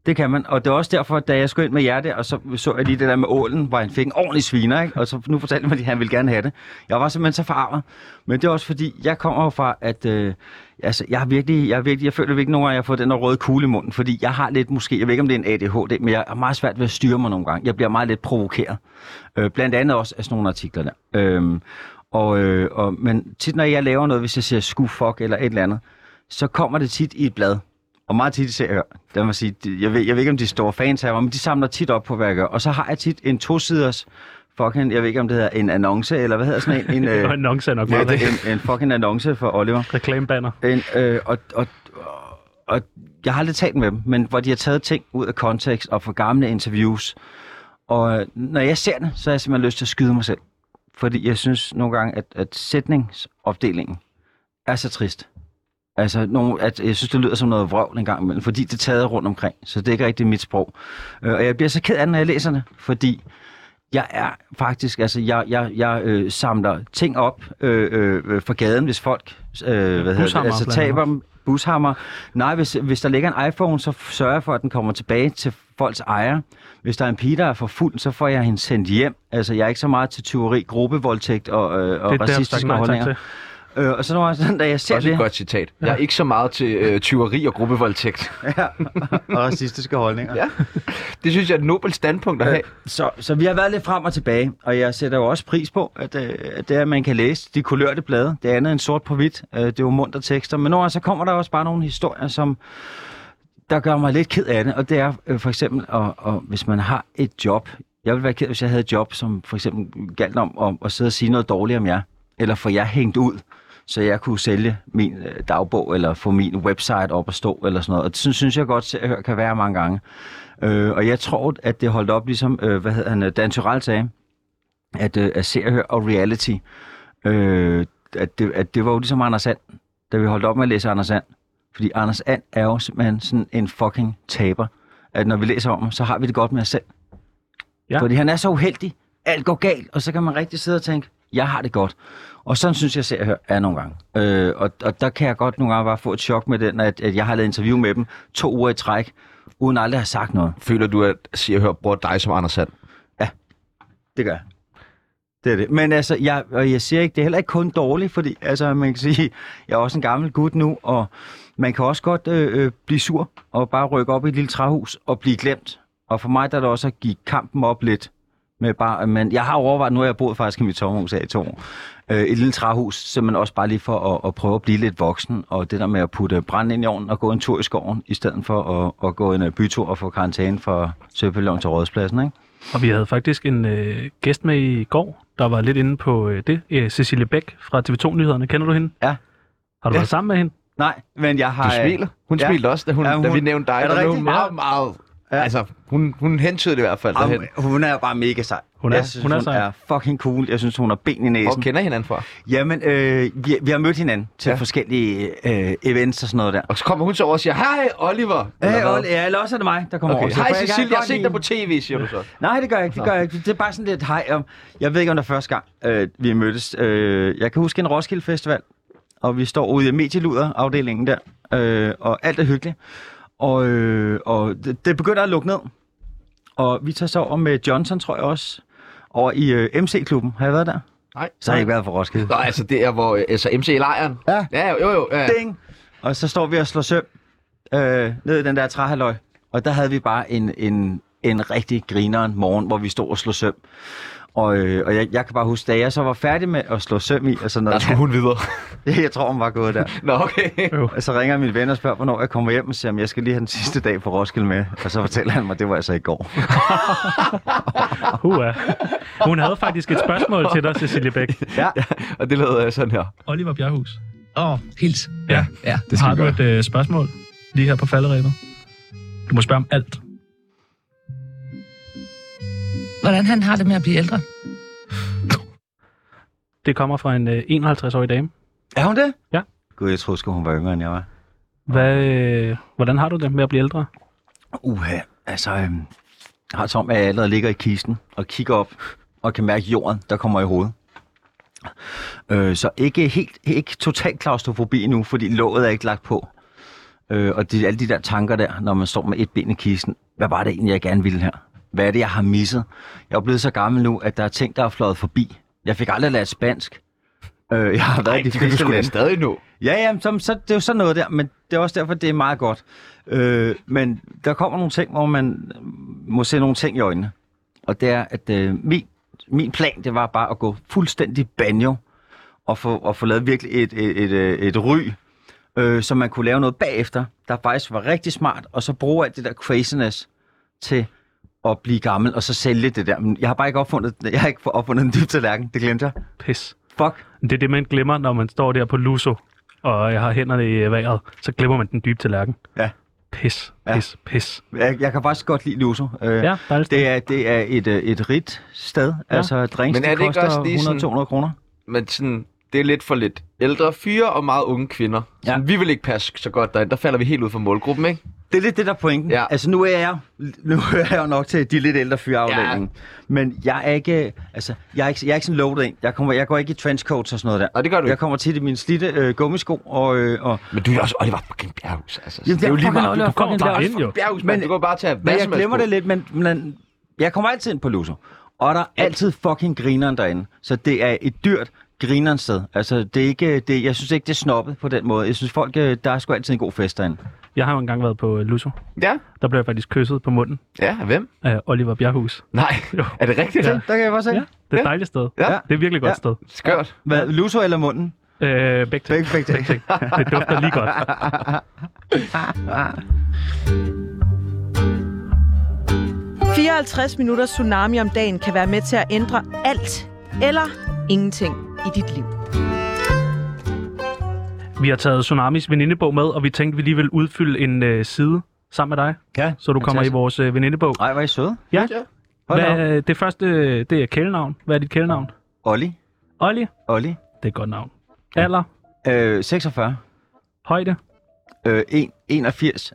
Speaker 4: Det kan man. Og det er også derfor, da jeg skulle ind med jer der, og så så jeg lige det der med ålen, hvor han fik en ordentlig sviner, ikke? Og så nu fortalte han mig, at han ville gerne have det. Jeg var simpelthen så forarvet. Men det er også fordi, jeg kommer jo fra, at øh, altså, jeg, har virkelig, jeg, har virkelig, jeg føler virkelig nogle gange, at jeg har fået den der røde kugle i munden, fordi jeg har lidt måske, jeg ved ikke om det er en ADHD, men jeg er meget svært ved at styre mig nogle gange. Jeg bliver meget lidt provokeret. Øh, blandt andet også af sådan nogle artikler der. Øhm, og, øh, og, men tit, når jeg laver noget, hvis jeg siger sku fuck eller et eller andet, så kommer det tit i et blad. Og meget tit ser jeg, lad mig sige, de- jeg ved, jeg ved ikke, om de er store fans af mig, men de samler tit op på, hvad jeg gør. Og så har jeg tit en tosiders fucking, jeg ved ikke, om det hedder en annonce, eller hvad hedder sådan en? En,
Speaker 2: Øh,
Speaker 4: øh,
Speaker 2: og annonce er nok meget
Speaker 4: en,
Speaker 2: rigtigt.
Speaker 4: en, en fucking annonce for Oliver.
Speaker 2: Reklamebanner.
Speaker 4: En, øh, og, og, og jeg har aldrig talt med dem, men hvor de har taget ting ud af kontekst og fra gamle interviews. Og øh, når jeg ser det, så har jeg simpelthen lyst til at skyde mig selv. Fordi jeg synes nogle gange, at, at sætningsopdelingen er så trist. Altså, nogle, at jeg synes, det lyder som noget vrøvl en gang imellem, fordi det er taget rundt omkring, så det er ikke rigtig mit sprog. Øh, og jeg bliver så ked af det, når jeg læser det, fordi jeg er faktisk, altså jeg, jeg, jeg øh, samler ting op øh, øh, fra gaden, hvis folk øh, hvad hedder det,
Speaker 2: Bushammer,
Speaker 4: altså,
Speaker 2: blandt
Speaker 4: taber
Speaker 2: andet.
Speaker 4: dem, bushammer. Nej, hvis, hvis der ligger en iPhone, så sørger jeg for, at den kommer tilbage til folks ejer. Hvis der er en pige, der er for fuld, så får jeg hende sendt hjem. Altså, jeg er ikke så meget til tyveri, gruppevoldtægt og, øh, og
Speaker 2: Det er der, sagt
Speaker 4: racistiske
Speaker 2: nej tak
Speaker 4: holdninger.
Speaker 2: til.
Speaker 4: Øh, og så når jeg, sådan, da jeg ser
Speaker 1: Også
Speaker 4: det,
Speaker 1: et godt citat. Jeg er ikke så meget til øh, tyveri og gruppevoldtægt.
Speaker 4: og racistiske holdninger.
Speaker 1: Ja. Det synes jeg er et nobelt standpunkt at have.
Speaker 4: Så, så vi har været lidt frem og tilbage, og jeg sætter jo også pris på, at, øh, at det er, at man kan læse de kulørte blade. Det andet end sort på hvidt. Øh, det er jo munter tekster. Men nu så kommer der også bare nogle historier, som der gør mig lidt ked af det. Og det er øh, for eksempel, og, og hvis man har et job. Jeg ville være ked, af, hvis jeg havde et job, som for eksempel galt om at, at sidde og sige noget dårligt om jer. Eller få jer hængt ud, så jeg kunne sælge min øh, dagbog, eller få min website op at stå, eller sådan noget. Og det synes, synes jeg godt, Se og Hør kan være mange gange. Øh, og jeg tror, at det holdt op, ligesom øh, hvad hedder han, øh, Dan Tyrell sagde, at, øh, at se og høre og reality, øh, at, det, at det var jo ligesom Anders And, da vi holdt op med at læse Anders And. Fordi Anders And er jo simpelthen sådan en fucking taber. At når vi læser om ham, så har vi det godt med os selv.
Speaker 2: Ja.
Speaker 4: Ja. Fordi han er så uheldig. Alt går galt, og så kan man rigtig sidde og tænke, jeg har det godt. Og sådan synes jeg, ser og hører er nogle gange. Øh, og, og der kan jeg godt nogle gange bare få et chok med den, at, at jeg har lavet interview med dem to uger i træk, uden aldrig at have sagt noget.
Speaker 1: Føler du, at siger hør bruger dig som Anders Sand?
Speaker 4: Det gør jeg. Det er det. Men altså, jeg, og jeg siger ikke, det er heller ikke kun dårligt, fordi altså, man kan sige, (laughs) jeg er også en gammel gut nu, og man kan også godt øh, øh, blive sur og bare rykke op i et lille træhus og blive glemt. Og for mig der er det også at give kampen op lidt. Med bare, men jeg har overvejet, nu har jeg boet faktisk i mit sommerhus her i to år, øh, et lille træhus, simpelthen også bare lige for at, at prøve at blive lidt voksen, og det der med at putte brand ind i ovnen og gå en tur i skoven, i stedet for at, at gå en øh, bytur og få karantæne fra Søpøløven til Rådspladsen, ikke?
Speaker 2: Og vi havde faktisk en øh, gæst med i går, der var lidt inde på øh, det. Øh, Cecilie Bæk fra TV2-nyhederne. Kender du hende?
Speaker 4: Ja.
Speaker 2: Har du
Speaker 4: Ja.
Speaker 2: været sammen med hende?
Speaker 4: Nej, men jeg har... øh,
Speaker 1: Du smiler. Hun
Speaker 4: Ja.
Speaker 1: ja. smilte også, da, hun,
Speaker 4: Ja,
Speaker 1: ja,
Speaker 4: hun-
Speaker 1: hun, da vi nævnte dig.
Speaker 4: Er det
Speaker 1: der
Speaker 4: rigtigt?
Speaker 1: meget, meget...
Speaker 4: Ja.
Speaker 1: Ja. Altså, hun, hun hentydede det i hvert fald
Speaker 4: Øh,
Speaker 1: derhen.
Speaker 4: hun- hun er bare mega sej.
Speaker 2: Hun er-
Speaker 4: jeg synes,
Speaker 2: hun
Speaker 4: hun
Speaker 2: er
Speaker 4: er,
Speaker 2: sej.
Speaker 4: fucking cool. Jeg synes, hun har ben i næsen.
Speaker 1: Hvor kender I hinanden fra?
Speaker 4: Jamen, øh, vi, vi har mødt hinanden til ja.
Speaker 1: Ja.
Speaker 4: forskellige øh, events og sådan noget der.
Speaker 1: Og så kommer hun så over og siger, hej Oliver! Eller
Speaker 4: Hey,
Speaker 1: hvad?
Speaker 4: Olle, ja, eller også er det mig, der kommer
Speaker 1: Okay.
Speaker 4: over. Så
Speaker 1: Hej
Speaker 4: får jeg
Speaker 1: Cecilie,
Speaker 4: gerne
Speaker 1: jeg har
Speaker 4: godt
Speaker 1: set
Speaker 4: i-
Speaker 1: dig på tv, siger du så.
Speaker 4: Nej, det gør jeg ikke. Det gør jeg ikke. Det er bare sådan lidt hej. om- Jeg ved ikke, om det er første gang, øh, vi mødtes. Øh, jeg kan huske en Roskilde Festival, og vi står ude i medieluder-afdelingen der, øh, og alt er hyggeligt. Og, øh, og det, det begynder at lukke ned. Og vi tager så over med Johnson, tror jeg også, over i øh, MC-klubben. Har jeg været der?
Speaker 1: Nej.
Speaker 4: Så har jeg ikke været for Roskilde.
Speaker 1: Nå, altså det er, hvor øh, altså, MC i lejren.
Speaker 4: Ja.
Speaker 1: Ja, jo, jo. Ja.
Speaker 4: Ding! Og så står vi og slår søm øh, ned i den der træhalløj. Og der havde vi bare en, en, en rigtig grineren morgen, hvor vi stod og slog søm. Og, øh, og jeg, jeg kan bare huske, da jeg så var færdig med at slå søm i og sådan
Speaker 1: Der
Speaker 4: noget, (laughs)
Speaker 1: skulle hun videre.
Speaker 4: jeg tror, hun var gået der.
Speaker 1: Nå, okay.
Speaker 4: Og så ringer min ven og spørger, hvornår jeg kommer hjem og siger, om jeg skal lige have den sidste dag på Roskilde med. Og så fortæller han mig, det var altså i går.
Speaker 2: Hua. Hun havde faktisk et spørgsmål til dig, Cecilie Bæk.
Speaker 4: Ja,
Speaker 1: Og det lød øh, sådan her.
Speaker 2: Oliver Bjerghus,
Speaker 6: Åh, oh, hils.
Speaker 2: Ja.
Speaker 6: ja, det skal
Speaker 2: har
Speaker 6: vi
Speaker 2: du
Speaker 6: gøre.
Speaker 2: et øh, spørgsmål lige her på falderæbet? Du må spørge om alt.
Speaker 6: Hvordan han har det med at blive ældre?
Speaker 2: Det kommer fra en øh, 51-årig dame.
Speaker 4: er hun det?
Speaker 2: Ja.
Speaker 4: Gud, jeg troede sgu, hun var yngre, end jeg var.
Speaker 2: Hvad, øh, hvordan har du det med at blive ældre?
Speaker 4: Uha, altså, øhm, jeg har som, at jeg allerede ligger i kisten og kigger op og kan mærke jorden, der kommer i hovedet. Øh, så ikke helt, ikke total klaustrofobi nu, fordi låget er ikke lagt på. Øh, og det, alle de der tanker der, når man står med et ben i kisten. Hvad var det egentlig, jeg gerne ville her? Hvad er det, jeg har misset? Jeg er blevet så gammel nu, at der er ting, der er fløjet forbi. Jeg fik aldrig lært spansk. Øh, jeg har været i de
Speaker 1: det kan du
Speaker 4: fleste
Speaker 1: sgu da
Speaker 4: lande.
Speaker 1: stadig nå.
Speaker 4: Ja, ja, så, så, det er jo sådan noget der, men det er også derfor, det er meget godt. Øh, men der kommer nogle ting, hvor man øh, må se nogle ting i øjnene. Og det er, at øh, min, min plan, det var bare at gå fuldstændig banjo og få, og få lavet virkelig et, et, et, øh, et ry, øh, så man kunne lave noget bagefter, der faktisk var rigtig smart, og så bruge alt det der craziness til at blive gammel, og så sælge det der. Men jeg har bare ikke opfundet, jeg har ikke opfundet en dyb tallerken, det glemte jeg.
Speaker 2: Pis.
Speaker 4: Fuck.
Speaker 2: Det er det, man glemmer, når man står der på Luso, og jeg har hænderne i øh, vejret. Så glemmer man den dybe tallerken.
Speaker 4: Ja.
Speaker 2: Pis,
Speaker 4: Ja.
Speaker 2: pis, pis.
Speaker 4: Jeg, jeg kan faktisk godt lide Luso. Øh,
Speaker 2: Ja, dejligt.
Speaker 4: Det er, det er et, øh, et rigt sted. Ja. Altså, drinks,
Speaker 1: Men er
Speaker 4: det
Speaker 1: det ikke
Speaker 4: koster
Speaker 1: også lige sådan-
Speaker 4: 100-200 kroner.
Speaker 1: Men sådan, det er lidt for lidt ældre fyre og meget unge kvinder.
Speaker 4: Ja.
Speaker 1: Sådan, vi vil ikke passe så godt derind. Der falder vi helt ud fra målgruppen, ikke?
Speaker 4: Det er lidt det, der er pointen. Ja.
Speaker 1: Ja.
Speaker 4: Altså, nu er jeg nu er jeg jo nok til de lidt ældre fyreafdelingen. Ja. Men jeg er ikke, altså, jeg er ikke, jeg er ikke sådan loaded en. Jeg, kommer, jeg går ikke i trenchcoats og sådan noget der.
Speaker 1: Nej, det gør du
Speaker 4: Jeg
Speaker 1: ikke.
Speaker 4: kommer tit i mine slidte øh, gummisko og... Øh, og
Speaker 1: Men du er jo også Oliver fucking Bjerghus, altså.
Speaker 4: Jamen,
Speaker 1: det er jo lige
Speaker 4: fucking
Speaker 1: meget.
Speaker 2: Du
Speaker 1: Du
Speaker 2: kommer bare ind, jo.
Speaker 1: Bjerghus, men, du går bare til at
Speaker 4: men jeg glemmer det lidt, men, men jeg kommer altid ind på Luso. Og der er altid fucking grineren derinde. Så det er et dyrt grineren sted. Altså, det er ikke, det, jeg synes ikke, det er snobbet på den måde. Jeg synes, folk, øh, der er sgu altid en god fest derinde.
Speaker 2: Jeg har jo engang været på øh, Lusso.
Speaker 1: Ja,
Speaker 2: Der blev jeg faktisk kysset på munden
Speaker 1: ja, af hvem?
Speaker 2: af Oliver Bjerghus.
Speaker 1: Nej,
Speaker 2: Jo.
Speaker 1: er det rigtigt?
Speaker 2: Ja.
Speaker 1: Ja.
Speaker 4: Der kan jeg bare se.
Speaker 2: Ja, det er et
Speaker 1: Ja.
Speaker 2: dejligt sted.
Speaker 1: Ja.
Speaker 2: Det er et virkelig godt
Speaker 4: Ja.
Speaker 2: sted.
Speaker 1: Skørt.
Speaker 4: Hvad, Luso eller munden?
Speaker 2: Øh, begge ting.
Speaker 1: (laughs)
Speaker 4: Begge, begge (laughs) ting.
Speaker 2: ting. Det dufter lige godt.
Speaker 4: Ah.
Speaker 5: 54 minutter tsunami om dagen kan være med til at ændre alt eller ingenting i dit liv.
Speaker 2: Vi har taget Tsunamis venindebog med, og vi tænkte, vi lige ville udfylde en øh, side sammen med dig,
Speaker 4: Ja,
Speaker 2: så du kommer i
Speaker 4: fantastisk.
Speaker 2: vores øh, venindebog.
Speaker 4: Ej, hvor er I søde.
Speaker 2: Ja.
Speaker 4: Hold da op.
Speaker 2: Hvad, det første, øh, det er kælenavn. Hvad er dit kælenavn?
Speaker 4: Olli.
Speaker 2: Olli,
Speaker 4: Olli.
Speaker 2: det er et godt navn. Alder,
Speaker 4: Øh, 46.
Speaker 2: højde
Speaker 4: Øh, 1, 81.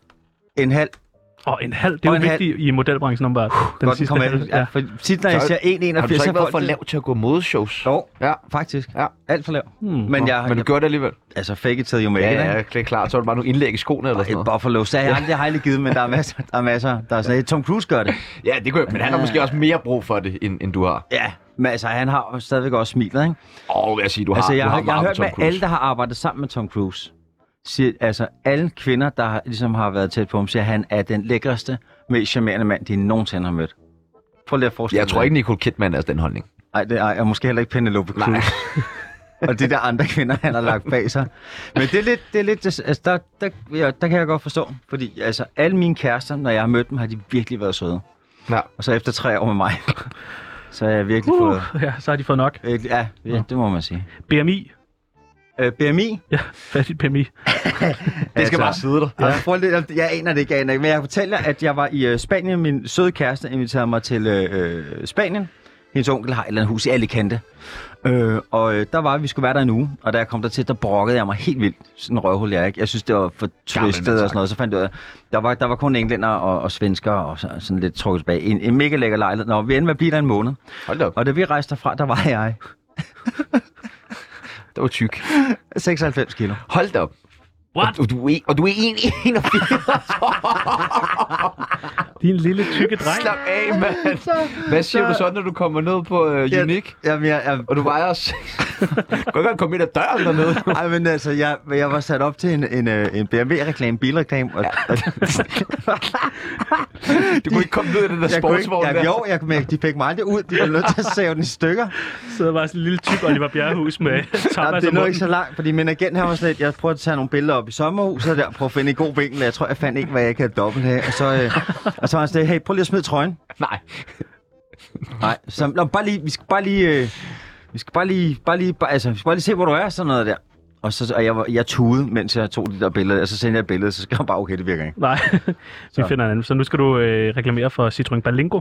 Speaker 4: En halv.
Speaker 2: og en halv. Det er
Speaker 4: Og
Speaker 2: jo
Speaker 4: en halv.
Speaker 2: vigtigt i modelbranchen, om bare den
Speaker 4: Godt, den
Speaker 2: sidste
Speaker 4: kom
Speaker 2: halv.
Speaker 4: af. Ja, for tit, når jeg
Speaker 1: Så-
Speaker 4: siger 1,
Speaker 1: Har du
Speaker 4: 81,
Speaker 1: så
Speaker 4: så
Speaker 1: ikke været
Speaker 4: folk...
Speaker 1: for lav til at gå modeshows?
Speaker 4: Jo,
Speaker 1: Ja.
Speaker 4: faktisk.
Speaker 1: Ja.
Speaker 4: Alt for lav.
Speaker 2: Hmm.
Speaker 4: Men jeg,
Speaker 1: Men du gjorde det alligevel.
Speaker 4: altså, fake it till you make
Speaker 1: Ja,
Speaker 4: it,
Speaker 1: ja,
Speaker 4: ikke?
Speaker 1: ja, det er klart. Så var der bare nogle indlæg i skoene eller sådan
Speaker 4: Et
Speaker 1: noget.
Speaker 4: Buffalo, så jeg aldrig, jeg har aldrig givet, men der er masser, der er masser. Der er sådan, Tom Cruise gør det.
Speaker 1: Ja, det kunne jeg, men han har måske også mere brug for det, end, end du har.
Speaker 4: Ja, men altså, han har jo stadigvæk også smilet, ikke?
Speaker 1: Åh, vil jeg sige, du har,
Speaker 4: Altså, jeg
Speaker 1: du
Speaker 4: har,
Speaker 1: har
Speaker 4: jeg har
Speaker 1: meget
Speaker 4: hørt
Speaker 1: Tom
Speaker 4: med
Speaker 1: Cruise.
Speaker 4: alle, der har arbejdet sammen med Tom Cruise, siger, altså alle kvinder, der har, ligesom har været tæt på ham, siger, at han er den lækreste, mest charmerende mand, de nogensinde har mødt. Prøv lige at forestille
Speaker 1: Jeg tror ikke, Nicole Kidman er altså den holdning.
Speaker 4: Nej, det er, ej, og måske heller ikke Penelope
Speaker 1: Nej. (laughs)
Speaker 4: Cruz. og det der andre kvinder, han har lagt bag sig. Men det er lidt, det er lidt altså, der, der, ja, der kan jeg godt forstå. Fordi altså, alle mine kærester, når jeg har mødt dem, har de virkelig været søde.
Speaker 1: Ja.
Speaker 4: Og så efter tre år med mig, (laughs) så er jeg virkelig
Speaker 2: Uh,
Speaker 4: fået...
Speaker 2: ja, så har de fået nok.
Speaker 4: Øh, ja, ja, det må man sige.
Speaker 2: BMI.
Speaker 4: Øh, BMI?
Speaker 2: Ja, (laughs) fattigt BMI.
Speaker 1: Det
Speaker 4: Altså,
Speaker 1: skal bare sidde der.
Speaker 4: Ja. Prøv lige, jeg aner det ikke, jeg aner ikke, men jeg fortæller, at jeg var i øh, Spanien. Min søde kæreste inviterede mig til øh, øh, Spanien. Hendes onkel har et eller andet hus i Alicante. Øh, og øh, der var vi skulle være der en uge, og da jeg kom dertil, der brokkede jeg mig helt vildt. Sådan en røvhul jeg er, ikke. Jeg synes, det var for twistet og sådan noget. Så fandt jeg ud af, der var, der var kun englænder og, og svensker og så, sådan lidt trukket tilbage. En, en mega lækker lejlighed. Nå, vi endte med at blive der en måned.
Speaker 1: Hold da op.
Speaker 4: Og da vi rejste derfra, der var jeg
Speaker 1: Det var tyk.
Speaker 4: 96 kilo.
Speaker 1: Hold da op.
Speaker 2: What?
Speaker 1: Og du er, og du er en, en og
Speaker 2: Din lille tykke dreng.
Speaker 1: Slap af, mand. Hvad siger du så, når du kommer ned på uh, Unique?
Speaker 4: Jamen, jeg, jeg,
Speaker 1: Og du vejer os. (laughs) Du kan godt komme ind ad døren dernede.
Speaker 4: Ej, men altså, jeg, jeg var sat op til en, en, øh, en BMW-reklame, bilreklame, og, (laughs) og
Speaker 1: Du kunne ikke komme ned i den der
Speaker 4: jeg kunne ikke,
Speaker 1: sportsvogn
Speaker 4: jeg,
Speaker 1: der.
Speaker 4: jo, jeg, men de fik mig aldrig ud, de var nødt til at save den i (laughs) stykker.
Speaker 2: sidder bare sådan en lille tyk Oliver Bjerrehus med
Speaker 4: (laughs) Jamen,
Speaker 2: tapas
Speaker 4: det
Speaker 2: og
Speaker 4: er nu ikke
Speaker 2: munden.
Speaker 4: så langt, fordi min agent her var sådan lidt, jeg prøver at tage nogle billeder op i sommerhuset der, prøver at finde en god vinkel, jeg tror, jeg fandt ikke, hvad jeg kan dobbelt af. Og så, øh, og så var han sådan, lidt, hey, prøv lige at smide trøjen.
Speaker 1: Nej.
Speaker 4: Nej, så, nå, bare lige, vi skal bare lige, øh, vi skal bare lige, bare lige, bare, altså, vi skal bare lige se, hvor du er, sådan noget der. Og, så, og jeg, var- jeg tude, mens jeg tog de der billeder, og så sendte jeg et billede, så skrev han bare, okay, det virker ikke.
Speaker 2: Nej, (laughs) vi
Speaker 4: Så.
Speaker 2: finder en anden. Så nu skal du øh, reklamere for Citroën Berlingo.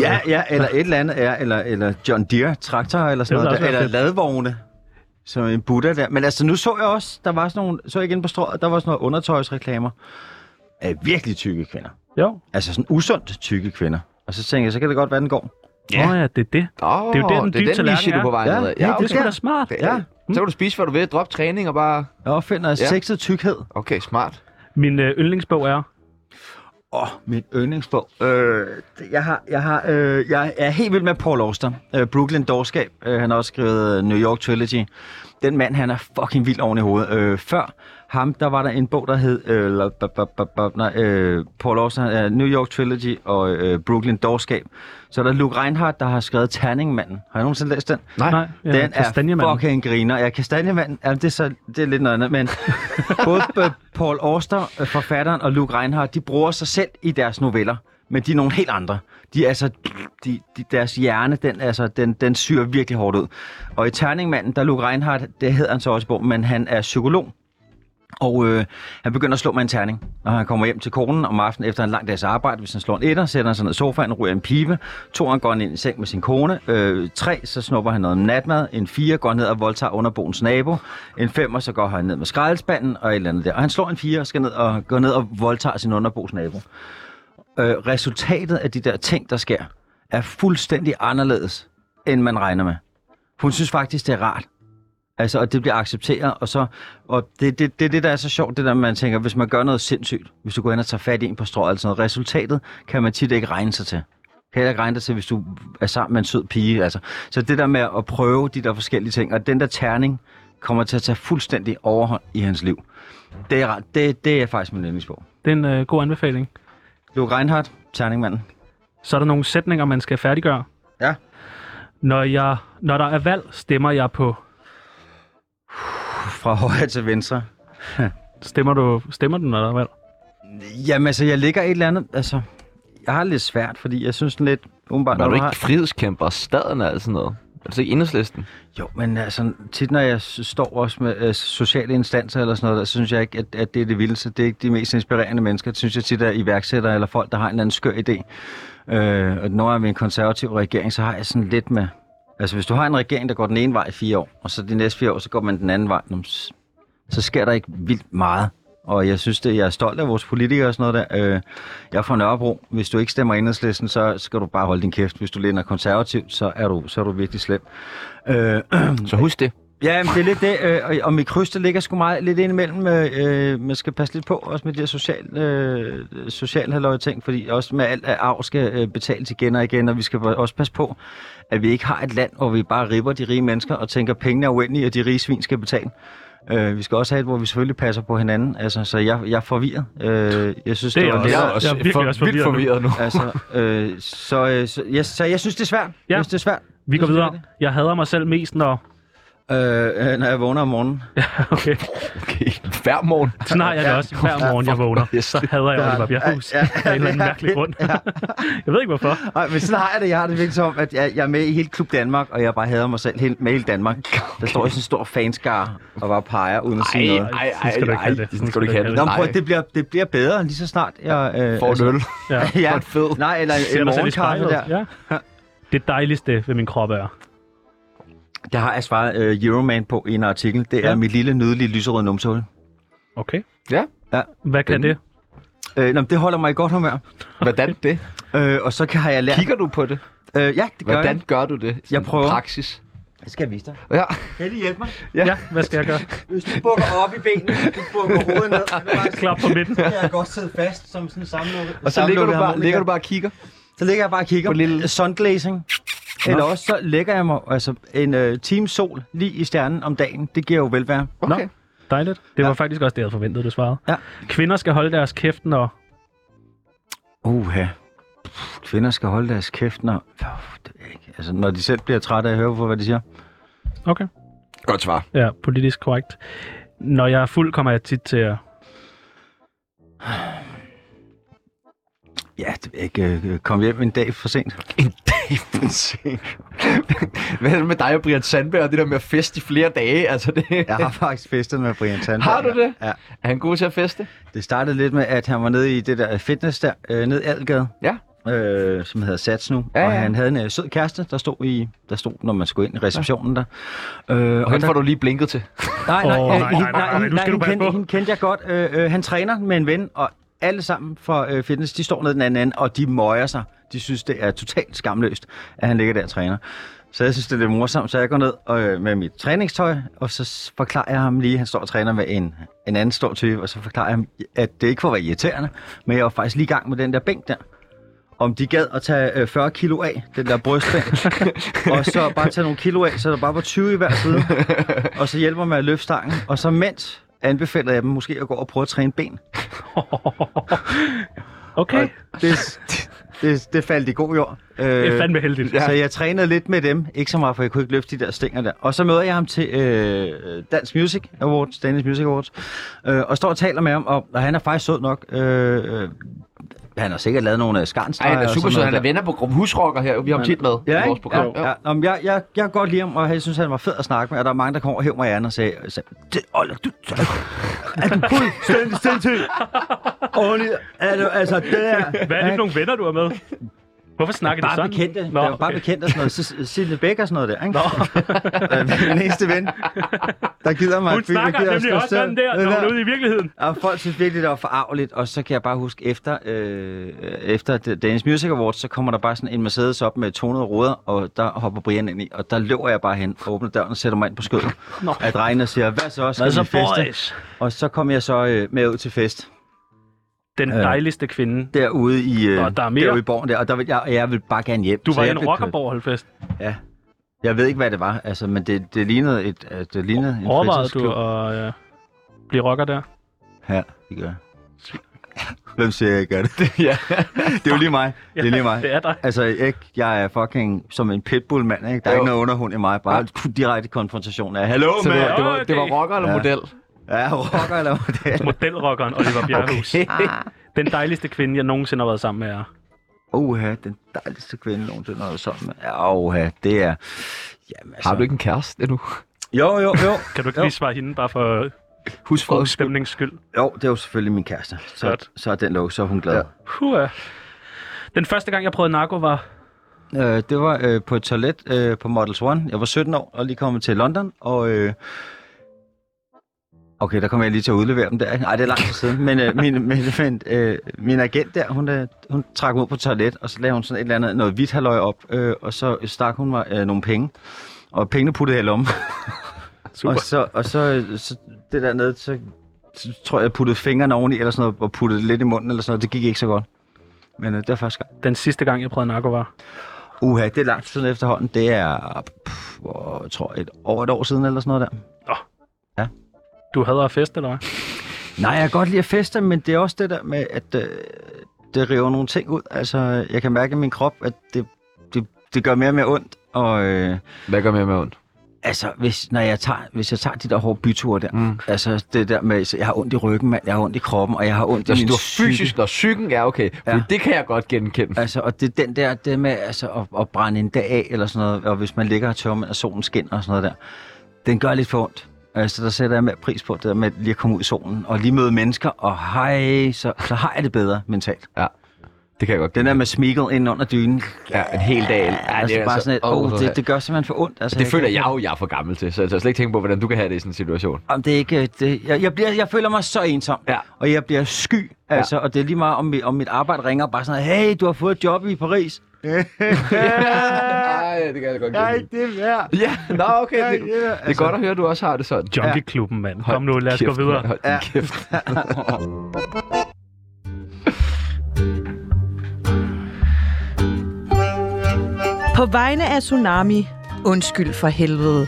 Speaker 4: Ja, ja, (laughs) eller et eller andet, ja, eller, eller John Deere traktor eller sådan
Speaker 2: Det ville
Speaker 4: noget,
Speaker 2: også
Speaker 4: der,
Speaker 2: være
Speaker 4: eller
Speaker 2: fedt.
Speaker 4: ladvogne. Som en Buddha der. Men altså, nu så jeg også, der var sådan nogle, så jeg igen på strået, der var sådan nogle undertøjsreklamer af virkelig tykke kvinder.
Speaker 2: Jo.
Speaker 4: Altså sådan usundt tykke kvinder. Og så tænkte jeg, så kan det godt være, den går.
Speaker 2: Ja. Nå ja, det er det.
Speaker 1: Oh,
Speaker 2: Det er jo der, den dybe
Speaker 1: det er den
Speaker 2: tallerken
Speaker 1: niche, du er
Speaker 2: er.
Speaker 1: på vej
Speaker 4: Ja,
Speaker 1: ned ad. Ja,
Speaker 4: ja,
Speaker 2: Det er
Speaker 1: okay.
Speaker 2: sgu da smart.
Speaker 1: Det er-
Speaker 4: Ja,
Speaker 1: Så kan du spise, hvad du vil. Drop træning og bare...
Speaker 4: jeg opfinder ja.
Speaker 1: Ja.
Speaker 4: sexet tykkhed.
Speaker 1: Okay, smart.
Speaker 2: Min øh, yndlingsbog er...
Speaker 4: Åh, oh, mit yndlingsbog. Øh, det- jeg, har, jeg, har, øh, jeg er helt vild med Paul Auster. Øh, Brooklyn Dårskab. Øh, han har også skrevet øh, New York Trilogy. Den mand, han er fucking vild oven i hovedet. Øh, før ham, der var der en bog, der hed øh, la- ba- ba- ba- ba- nej, øh, Paul Auster, øh, New York Trilogy og øh, Brooklyn Dårskab. Så er der Luke Reinhardt, der har skrevet Terningmanden. Har jeg nogensinde læst den?
Speaker 2: Nej, ja,
Speaker 4: Den er
Speaker 2: kastanjemanden.
Speaker 4: fucking griner. Ja, Kastanjemanden, ja, det, er så, det er lidt noget andet,
Speaker 2: (laughs)
Speaker 4: men både øh, Paul Auster, øh, forfatteren, og Luke Reinhardt, de bruger sig selv i deres noveller, men de er nogle helt andre. De er altså, de, de, deres hjerne, den, altså, den, den syr virkelig hårdt ud. Og i Terningmanden, der er Luke Reinhardt, det hedder han så også i bogen, men han er psykolog. Og øh, han begynder at slå med en terning, når han kommer hjem til konen om aftenen efter en lang dags arbejde. Hvis han slår en etter, sætter han sig ned i sofaen, ryger en pibe. Toeren går han ind i seng med sin kone. Øh, tre, så snupper han noget natmad. En fire går ned og voldtager underboens nabo. En femmer, så går han ned med skraldespanden og et eller andet der. Og han slår en fire og skal ned og går ned og voldtager sin underboens nabo. Øh, resultatet af de der ting, der sker, er fuldstændig anderledes, end man regner med. Hun synes faktisk, det er rart. Altså, og det bliver accepteret, og så... Og det, det, det, er det, der er så sjovt, det der, man tænker, hvis man gør noget sindssygt, hvis du går hen og tager fat i en på strået, eller sådan noget, resultatet kan man tit ikke regne sig til. Kan heller ikke regne dig til, hvis du er sammen med en sød pige, altså. Så det der med at prøve de der forskellige ting, og den der terning kommer til at tage fuldstændig overhånd i hans liv. Det er, ret- det, det er faktisk min yndlingsbog.
Speaker 2: Det er en øh, god anbefaling.
Speaker 4: Luke Reinhardt, Terningmanden.
Speaker 2: Så er der nogle sætninger, man skal færdiggøre.
Speaker 4: Ja.
Speaker 2: Når, jeg, når der er valg, stemmer jeg på...
Speaker 4: Fra højre til venstre.
Speaker 2: Stemmer du, stemmer du, når der er valg?
Speaker 4: Jamen, altså, jeg ligger et eller andet... Altså, jeg har det lidt svært, fordi jeg synes den lidt... Umiddelbart,
Speaker 1: Men er
Speaker 4: når
Speaker 1: du
Speaker 4: du har...
Speaker 1: ikke frihedskæmper og staden og alt sådan noget? Er du så ikke enhedslisten?
Speaker 4: Jo, men altså, tit når jeg s- står også med øh, sociale instanser eller sådan noget, der, så synes jeg ikke, at, at det er det vildeste. Det er ikke de mest inspirerende mennesker. Det synes jeg tit er iværksættere eller folk, der har en eller anden skør idé. Øh, og når jeg er med en konservativ regering, så har jeg sådan lidt med... Altså, hvis du har en regering, der går den ene vej i fire år, og så de næste fire år, så går man den anden vej, nå, s- så sker der ikke vildt meget. Og jeg synes, det, jeg er stolt af vores politikere og sådan noget der. Øh, jeg er fra Nørrebro. Hvis du ikke stemmer enhedslisten, så skal du bare holde din kæft. Hvis du læner konservativt, så er du, så er du virkelig slem. Øh,
Speaker 1: Så husk det.
Speaker 4: Ja, men det er lidt det, øh, og- og mit kryds, det ligger sgu meget lidt ind imellem. Øh, man skal passe lidt på, også med de her sociale øh, social halløje ting, fordi også med alt af arv skal øh, betales igen og igen, og vi skal også passe på, at vi ikke har et land, hvor vi bare ripper de rige mennesker og tænker, pengene er uendelige, og de rige svin skal betale. Øh, vi skal også have et, hvor vi selvfølgelig passer på hinanden. Altså, så jeg, jeg er forvirret. Øh, jeg synes,
Speaker 2: Det
Speaker 4: det,
Speaker 2: er
Speaker 4: det var
Speaker 2: jeg også. Jeg er
Speaker 4: lettere-
Speaker 2: også virkelig
Speaker 1: for-
Speaker 2: også forvirret
Speaker 1: vildt
Speaker 2: nu.
Speaker 1: forvirret nu.
Speaker 4: Altså, øh, så, øh, så, jeg, så jeg synes, det er svært.
Speaker 2: Ja.
Speaker 4: Jeg synes, det er svært.
Speaker 2: Vi går
Speaker 4: synes,
Speaker 2: videre.
Speaker 4: det
Speaker 2: Jeg hader mig selv mest, når... (laughs)
Speaker 4: øh, øh, når jeg vågner om morgenen.
Speaker 2: Okay.
Speaker 1: Okay. Hver morgen.
Speaker 2: Sådan har jeg det også. Hver morgen, jeg vågner, så hader jeg Oliver Bjerghus.
Speaker 4: Ja,
Speaker 2: Ja,
Speaker 4: ja,
Speaker 2: ja, en eller anden
Speaker 4: ja,
Speaker 2: mærkelig grund. (laughs)
Speaker 4: ja.
Speaker 2: Jeg ved ikke, hvorfor.
Speaker 4: Ej, men sådan har jeg det. Jeg har det virkelig som, at jeg, jeg er med i hele Klub Danmark, og jeg bare hader mig selv helt, med hele Danmark. Der står i sådan en stor fanskare og bare peger uden at sige
Speaker 1: Ej,
Speaker 4: noget.
Speaker 1: ej, ej,
Speaker 2: Sådan skal du ikke
Speaker 1: ej,
Speaker 2: have det.
Speaker 1: det
Speaker 2: Sådan
Speaker 1: skal du ikke have det.
Speaker 4: Nå, men prøv,
Speaker 1: Nej,
Speaker 4: at- det bliver, det bliver bedre lige så snart jeg... Øh,
Speaker 1: får en øl.
Speaker 2: Ja.
Speaker 4: (laughs) Ja,
Speaker 1: får en fed.
Speaker 4: nej, eller
Speaker 2: Ser
Speaker 4: en
Speaker 2: dig selv i
Speaker 4: morgenkaffe
Speaker 2: spejlet.
Speaker 4: der.
Speaker 2: Ja. Det dejligste ved min krop er.
Speaker 4: Der har jeg svaret øh, Euroman på i en artikel. Det er
Speaker 2: Ja.
Speaker 4: ja. mit lille, nydelige, lyserøde numsehul.
Speaker 2: Okay.
Speaker 1: Ja.
Speaker 4: Ja.
Speaker 2: Hvad kan det?
Speaker 4: Øh, nå, men det holder mig i godt humør.
Speaker 1: Hvordan (laughs) det?
Speaker 4: Øh, og så kan har jeg lært...
Speaker 1: Kigger du på det?
Speaker 4: Øh, ja, det gør
Speaker 1: Hvordan
Speaker 4: jeg.
Speaker 1: gør du det? Sådan
Speaker 4: prøver.
Speaker 1: Praksis.
Speaker 4: Det skal jeg vise dig.
Speaker 1: Ja.
Speaker 4: Kan I hjælpe mig?
Speaker 1: Ja.
Speaker 2: Ja, hvad skal jeg gøre?
Speaker 4: Hvis du bukker op i benene, du bukker hovedet ned,
Speaker 2: Klap på
Speaker 4: (laughs)
Speaker 2: midten.
Speaker 4: så kan jeg godt sidde fast som sådan en samlukket.
Speaker 1: Og så ligger du, bare, ligger du bare og kigger.
Speaker 4: Så ligger jeg bare og kigger
Speaker 1: På lille-
Speaker 4: sunglazing. Eller også så lægger jeg mig altså en øh, time sol lige i stjernen om dagen. Det giver jo velvære.
Speaker 1: Okay.
Speaker 2: Dejligt. Det var
Speaker 4: Ja.
Speaker 2: faktisk også det, jeg havde forventet, du svarede.
Speaker 4: Ja.
Speaker 2: Kvinder skal holde deres kæft, når...
Speaker 4: Uha. Pff, Kvinder skal holde deres kæft, når, Pff, det ved jeg ikke. altså, når de selv bliver trætte af at høre på, hvad de siger.
Speaker 2: Okay.
Speaker 1: Godt svar.
Speaker 2: Ja, politisk korrekt. Når jeg er fuld, kommer jeg tit til
Speaker 4: (laughs)
Speaker 2: at...
Speaker 4: Ja, det ved jeg ikke. øh, Kom hjem en dag for sent.
Speaker 1: En dag på seng. (laughs) Hvad er det med dig og Brian Sandberg og det der med at feste i flere dage? Altså det...
Speaker 4: Jeg har faktisk festet med Brian Sandberg.
Speaker 1: Har du det?
Speaker 4: Ja.
Speaker 1: Er han god til at feste?
Speaker 4: Det startede lidt med, at han var nede i det der fitness der, øh, ned i Algade.
Speaker 1: Ja.
Speaker 4: Øh, som hedder Sats nu.
Speaker 1: Ja,
Speaker 4: og
Speaker 1: ja.
Speaker 4: han havde en øh, sød kæreste, der stod, i, der stod, når man skulle ind i receptionen der. Øh,
Speaker 1: Og hende får du lige blinket til.
Speaker 4: Nej, nej,
Speaker 2: Åh,
Speaker 4: nej,
Speaker 2: nej,
Speaker 4: nej,
Speaker 2: nej,
Speaker 4: nej,
Speaker 2: nej,
Speaker 4: nej,
Speaker 2: nu
Speaker 4: nej,
Speaker 2: skal du passe
Speaker 4: hende,
Speaker 2: på.
Speaker 4: kendte, hende kendte jeg godt. Øh, øh, han træner med en ven, og alle sammen fra øh, fitness, de står nede den anden ende, og de møjer sig. De synes, det er totalt skamløst, at han ligger der og træner. Så jeg synes, det er lidt morsomt, så jeg går ned og, øh, med mit træningstøj, og så s- forklarer jeg ham lige, han står og træner med en, en anden stor type, og så forklarer jeg ham, at det ikke for at være irriterende, men jeg var faktisk lige i gang med den der bænk der. Om de gad at tage øh, 40 kilo af, den der
Speaker 2: (laughs)
Speaker 4: brystbænk, og så bare tage nogle kilo af, så der bare var 20 i hver side og så hjælper med at løfte stangen. Og så mens anbefaler jeg dem måske at gå og prøve at træne ben.
Speaker 2: Okay.
Speaker 4: Og øh, det, det, det faldt i god jord. Øh,
Speaker 2: Det er fandme heldigt.
Speaker 4: Så jeg trænede lidt med dem. Ikke så meget, for jeg kunne ikke løfte de der stænger der. Og så møder jeg ham til øh, Dansk Music Awards, Danish Music Awards, øh, og står og taler med ham, og, og han er faktisk sød nok. Øh, øh, han har sikkert lavet nogle øh,
Speaker 1: Ej,
Speaker 4: skansdrejer.
Speaker 1: han er super sød. Han er venner på gruppen Husrocker her. Vi har ham tit med i
Speaker 4: Ja,
Speaker 1: vores
Speaker 4: ikke?
Speaker 1: program.
Speaker 4: ja, ja. Nå, men jeg, jeg, jeg kan godt lide ham, og jeg synes, han var fed at snakke med. Og der er mange, der kommer og hæver mig i anden og sagde, sagde det, Olle, du, er du fuldstændig sindssyg? Olle, er du, altså, det er...
Speaker 2: Hvad er det for nogle venner, du er med? Hvorfor snakker de
Speaker 4: Bare
Speaker 2: sådan?
Speaker 4: bekendte.
Speaker 2: Nå,
Speaker 4: Nå, okay. Bare
Speaker 2: okay.
Speaker 4: bekendte og sådan noget. Så- Sille Bæk og sådan noget der, ikke? Nå. Min eneste ven, der gider mig.
Speaker 2: Hun
Speaker 4: fordi der
Speaker 2: snakker
Speaker 4: gider
Speaker 2: nemlig
Speaker 4: at stå
Speaker 2: også sådan
Speaker 4: selv.
Speaker 2: der, når hun er ude i virkeligheden.
Speaker 4: Og folk synes virkelig, det var forarveligt, og så kan jeg bare huske, efter, øh, efter Danish Music Awards, så kommer der bare sådan en Mercedes op med 200 ruder, og der hopper Brian ind i, og der løber jeg bare hen, og åbner døren og sætter mig ind på skødet af drengene og siger, hvad så, skal
Speaker 2: Hvad så,
Speaker 4: vi feste?
Speaker 2: boys?
Speaker 4: Og så kom jeg så øh, med ud til fest,
Speaker 2: Den
Speaker 4: Ja.
Speaker 2: dejligste kvinde.
Speaker 4: derude i, øh,
Speaker 2: Og der er mere.
Speaker 4: derude i borgen der, og der, vil- jeg, og jeg ville bare gerne hjem.
Speaker 2: Du
Speaker 4: så
Speaker 2: var i
Speaker 4: jeg øh,
Speaker 2: en
Speaker 4: blev kørt.
Speaker 2: rockerborg holdfest.
Speaker 4: Ja. Jeg ved ikke, hvad det var, altså, men det, det lignede, et, øh, det lignede en
Speaker 2: Overvejede du
Speaker 4: fritidsklub.
Speaker 2: at øh, blive rocker der?
Speaker 4: Ja, det gør jeg. (laughs) Hvem siger, jeg gør det?
Speaker 2: (laughs)
Speaker 4: det er jo lige mig. Det er lige mig.
Speaker 2: Det er dig.
Speaker 4: Altså, ikke, jeg er fucking som en pitbull-mand, ikke? Der er
Speaker 1: Jo.
Speaker 4: jo. ikke noget underhund i mig. Bare (laughs) direkte konfrontation af, hallo,
Speaker 1: Så det
Speaker 4: mand!
Speaker 1: var, det var, det var
Speaker 2: Okay.
Speaker 1: rocker eller
Speaker 4: Ja.
Speaker 1: model? (laughs)
Speaker 4: Ja, rocker eller model.
Speaker 2: Modelrockeren
Speaker 4: (laughs)
Speaker 2: Oliver Bjerghus. Okay.
Speaker 6: Ah,
Speaker 2: Den dejligste kvinde, jeg nogensinde har været sammen med, er...
Speaker 4: Oha, den dejligste kvinde nogensinde har været sammen med. Ja, Oha, det er... Jamen, altså...
Speaker 1: Har du ikke en kæreste endnu?
Speaker 4: Jo, jo, jo.
Speaker 2: Kan du ikke
Speaker 4: Jo.
Speaker 2: lige svare hende, bare for øh,
Speaker 1: Husk for
Speaker 2: god stemnings skyld?
Speaker 4: (laughs) Jo, det er jo selvfølgelig min kæreste. Så,
Speaker 2: Godt.
Speaker 4: så er den lov, så er hun glad.
Speaker 2: Puh, den første gang, jeg prøvede narko, var...
Speaker 4: Øh, det var øh, på et toilet øh, på Models One. Jeg var 17 år og lige kommet til London, og... Øh, Okay, der kommer jeg lige til at udlevere dem der. ikke? Nej, det er lang tid siden. Men øh, min, min, min, øh, min agent der, hun, øh, hun trak mig ud på toilet, og så lavede hun sådan et eller andet, noget hvidt halvøj op, øh, og så stak hun mig øh, nogle penge. Og pengene puttede jeg i lommen.
Speaker 2: Super.
Speaker 4: Og så, og så, øh, så det der nede, så, så tror jeg, jeg puttede fingrene oveni, eller sådan noget, og puttede lidt i munden, eller sådan noget. Det gik ikke så godt. Men øh, det var første gang.
Speaker 2: Den sidste gang, jeg prøvede narko, var...
Speaker 4: Uha, det er langt siden efterhånden. Det er, pff, hvor- jeg tror, et, over et år siden eller sådan noget der.
Speaker 2: Du hader at feste, eller hvad?
Speaker 4: Nej, jeg kan godt lide at feste, men det er også det der med, at øh, det river nogle ting ud. Altså, jeg kan mærke i min krop, at det, det, det gør mere og mere ondt. Og øh,
Speaker 1: Hvad gør med med ondt?
Speaker 4: Altså, hvis, når jeg tager, hvis jeg tager de der hårde byture der, mm. altså det der med, så jeg har ondt i ryggen, mand, jeg har ondt i kroppen, og jeg har ondt i
Speaker 1: Altså,
Speaker 4: min
Speaker 1: du er
Speaker 4: psyke.
Speaker 1: fysisk, når psyken er okay. Ja.
Speaker 4: Ja.
Speaker 1: Det kan jeg godt genkende.
Speaker 4: Altså, og det er den der, det med altså, at, at brænde en dag af, eller sådan noget, og hvis man ligger og tørmer, og solen skinner og sådan noget der, den gør lidt for ondt. Altså, der sætter jeg mere pris på det der med lige at komme ud i solen, og lige møde mennesker, og hej, så, så har jeg det bedre mentalt.
Speaker 1: Det kan jeg godt
Speaker 4: Den der
Speaker 1: genkende.
Speaker 4: med smigel ind under dynen,
Speaker 1: Ja, en hel dag. Ja, det
Speaker 4: ja, altså, det er bare sådan et,
Speaker 1: åh,
Speaker 4: oh,
Speaker 1: det,
Speaker 4: det, det gør simpelthen for ondt. Altså,
Speaker 1: det
Speaker 4: jeg
Speaker 1: føler
Speaker 4: kan-
Speaker 1: jeg jo, jeg er for gammel til. Så jeg tør slet ikke tænke på, hvordan du kan have det i sådan en situation.
Speaker 4: Jamen, det er ikke... øh, Det, jeg, jeg, bliver, jeg føler mig så ensom,
Speaker 1: Ja.
Speaker 4: og jeg bliver sky, altså, og det er lige meget, om, mi- om mit arbejde ringer og bare sådan, hey, du har fået et job i Paris.
Speaker 1: Nej, det kan jeg godt genkende.
Speaker 4: det er værd.
Speaker 1: Ja, nå okay. Det,
Speaker 4: Ja, ja,
Speaker 1: det er godt at høre, at du også har det sådan.
Speaker 2: Junkie-klubben, mand. Kom nu, lad os gå
Speaker 1: Kæft,
Speaker 2: videre.
Speaker 1: mand, Hold din
Speaker 4: Ja.
Speaker 1: kæft.
Speaker 5: På vegne af Tsunami, undskyld for helvede.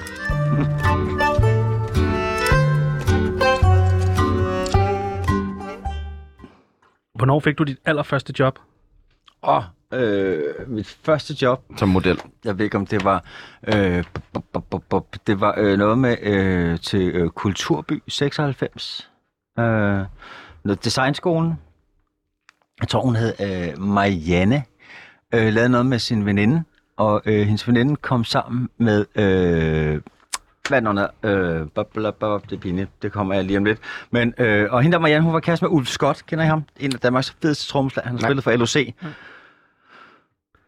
Speaker 2: Hvornår fik du dit allerførste job?
Speaker 4: Og øh, mit første job,
Speaker 1: Som model.
Speaker 4: jeg ved ikke, om det var... Øh, b- b- b- b- det var øh, noget med øh, til øh, Kulturby 96. Øh, noget designskolen. Jeg tror, hun hed øh, Marianne. Øh, lavede noget med sin veninde. Og øh, hendes veninde kom sammen med... Øh, hvad er den under? Øh, bop, bop, bop, det er pinligt. Det kommer jeg lige om lidt. Men, øh, og hende der Marianne, hun var kæreste med Ulf Scott. Kender I ham? En af Danmarks fedeste trommeslager. Han har spillet for LOC.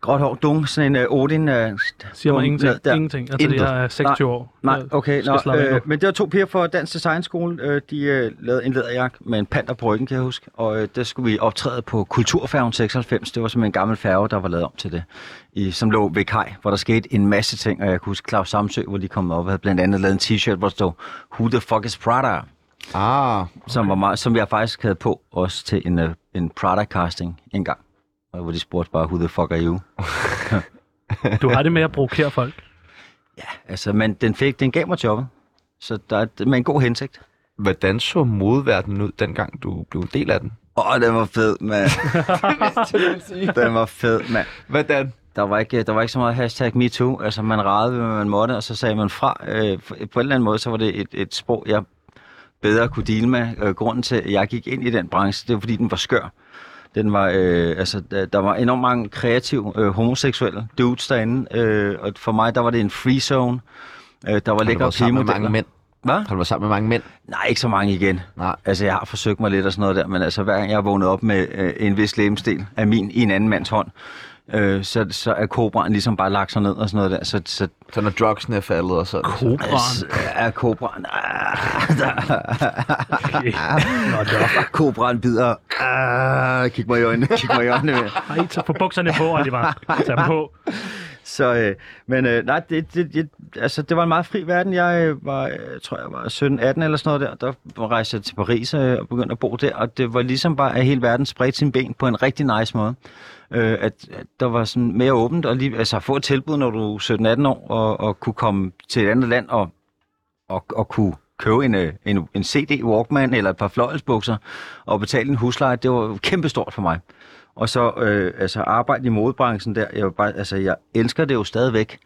Speaker 4: Gråt hår, dung, sådan en øh, Odin. Øh,
Speaker 2: Siger mig
Speaker 4: bum,
Speaker 2: ingenting.
Speaker 4: ned der.
Speaker 2: Ingenting. Altså,
Speaker 4: Intet.
Speaker 2: jeg er 26 år.
Speaker 4: Nej,
Speaker 2: Jeg
Speaker 4: okay.
Speaker 2: skal
Speaker 4: Nå,
Speaker 2: slappe af nu.
Speaker 4: øh, men det var to piger fra Dansk Designskole. Øh, de øh, lavede en læderjakke med en panter på ryggen, kan jeg huske. Og øh, der skulle vi optræde på Kulturfærgen 96. Det var simpelthen en gammel færge, der var lavet om til det. I, som lå ved Kaj, hvor der skete en masse ting. Og jeg kan huske Claus Samsø, hvor de kom op og havde blandt andet lavet en t-shirt, hvor der stod Who the fuck is Prada?
Speaker 1: Ah,
Speaker 4: Som, var meget, som jeg faktisk havde på også til en, øh, en Prada-casting en gang. Og Hvor de spurgte bare, who the fuck are you? øh,
Speaker 2: Du har det med at provokere folk.
Speaker 4: Altså, men den, fik, den gav mig jobbet. Så der er det- med en god hensigt.
Speaker 1: hvordan så modverdenen ud, dengang du blev en del af den?
Speaker 4: Åh, oh, den var fed, mand. den var fed, mand.
Speaker 1: Hvordan?
Speaker 4: Der var, ikke, øh, der var ikke så meget hashtag MeToo. Altså, man rejede, hvad man måtte, og så sagde man fra. Øh, på en eller anden måde, så var det et, et sprog, jeg bedre kunne dele med. Øh, grunden til, at jeg gik ind i den branche, det var, fordi den var skør. Den var, øh, altså, der, der var enormt mange kreative øh, homoseksuelle dudes derinde, øh, og for mig, der var det en free zone. Øh, der var
Speaker 1: Har du
Speaker 4: lækre
Speaker 1: været sammen med mange
Speaker 4: pigemodeller.
Speaker 1: mænd?
Speaker 4: Hvad?
Speaker 1: Har du været sammen med mange mænd?
Speaker 4: Nej, ikke så mange igen.
Speaker 1: Nej.
Speaker 4: Altså, jeg har forsøgt mig lidt og sådan noget der, men altså, hver gang jeg er vågnet op med øh, en vis lemstil af min i en anden mands hånd, øh, så, så er kobraen ligesom bare lagt sig ned og sådan noget der. Så, så
Speaker 1: Så når drugsene er faldet og sådan.
Speaker 4: (laughs)
Speaker 2: Kobraen.
Speaker 4: så er kobraen... Ah, der,
Speaker 2: Okay.
Speaker 4: ah, kobraen bider... Ah, kig mig i øjnene, kig mig i øjnene. mand.
Speaker 2: Ej, tag på bukserne på, Oliver. Tag dem på.
Speaker 4: Så, øh, men øh, nej, det, det, jeg, altså, det var en meget fri verden. Jeg øh, var, øh, tror jeg var 17-18 eller sådan noget der. Der rejste jeg til Paris øh, og begyndte at bo der. Og det var ligesom bare, at hele verden spredte sine ben på en rigtig nice måde. Øh, at, at der var sådan mere åbent. Og lige, altså at få et tilbud, når du er 17-18 år, og, og kunne komme til et andet land og, og, og kunne købe en, øh, en, en CD Walkman eller et par fløjelsbukser og betale en husleje, det var kæmpestort for mig. Og så øh, altså arbejde i modebranchen der. Jeg, vil bare, altså, jeg elsker det jo stadigvæk.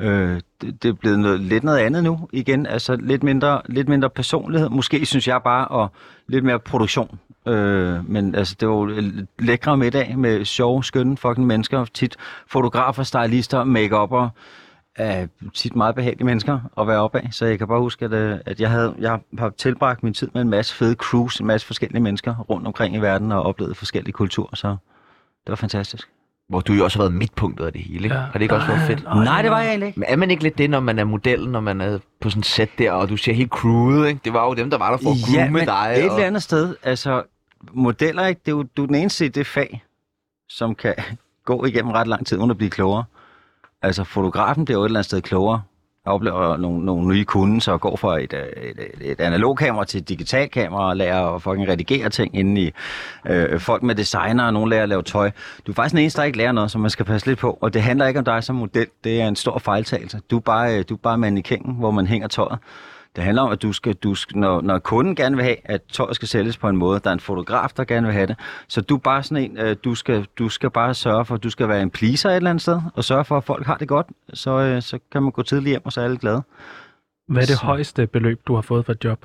Speaker 4: Øh, det, det er blevet noget, lidt noget andet nu igen. Altså lidt mindre, lidt mindre personlighed. Måske synes jeg bare, og lidt mere produktion. Øh, men altså, det var jo en lækre middag med sjove, skønne fucking mennesker. Tit fotografer, stylister, make-upper. Øh, tit meget behagelige mennesker at være oppe af. Så jeg kan bare huske, at, øh, at jeg, havde, jeg har tilbragt min tid med en masse fede crews, en masse forskellige mennesker rundt omkring i verden og oplevet forskellige kulturer. Så det var fantastisk.
Speaker 1: Hvor du jo også har været midtpunktet af det hele, ikke?
Speaker 2: Ja.
Speaker 1: Har det ikke også været fedt?
Speaker 2: Ej,
Speaker 4: Nej, det var jeg egentlig ikke.
Speaker 1: Men er man ikke lidt det, når man er modellen, når man er på sådan et sæt der, og du ser helt crewet, ikke? Det var jo dem, der var der for at groome
Speaker 4: men
Speaker 1: dig.
Speaker 4: et
Speaker 1: og...
Speaker 4: eller andet sted, altså modeller, ikke? Det er jo, du er den eneste i det fag, som kan (laughs) gå igennem ret lang tid uden at blive klogere. Altså fotografen bliver jo et eller andet sted klogere. Jeg oplever nogle, nogle nye kunder, så går fra et, øh, et, et, et analogkamera til et digitalt kamera og lærer at fucking redigere ting inde i øh, folk med designer, og nogen lærer at lave tøj. Du er faktisk den eneste, der ikke lærer noget, som man skal passe lidt på. Og det handler ikke om dig som model. Det er en stor fejltagelse. Du er bare, øh, du er bare mand i kængen, hvor man hænger tøjet. Det handler om, at du skal, du skal, når, når kunden gerne vil have, at tøjet skal sælges på en måde, der er en fotograf, der gerne vil have det, så du er bare sådan en, øh, du skal, du skal bare sørge for, at du skal være en pleaser et eller andet sted, og sørge for, at folk har det godt, så, øh, så kan man gå tidligt hjem, og så er alle glade.
Speaker 2: Hvad er det
Speaker 4: Så-
Speaker 2: højeste beløb, du har fået for et job?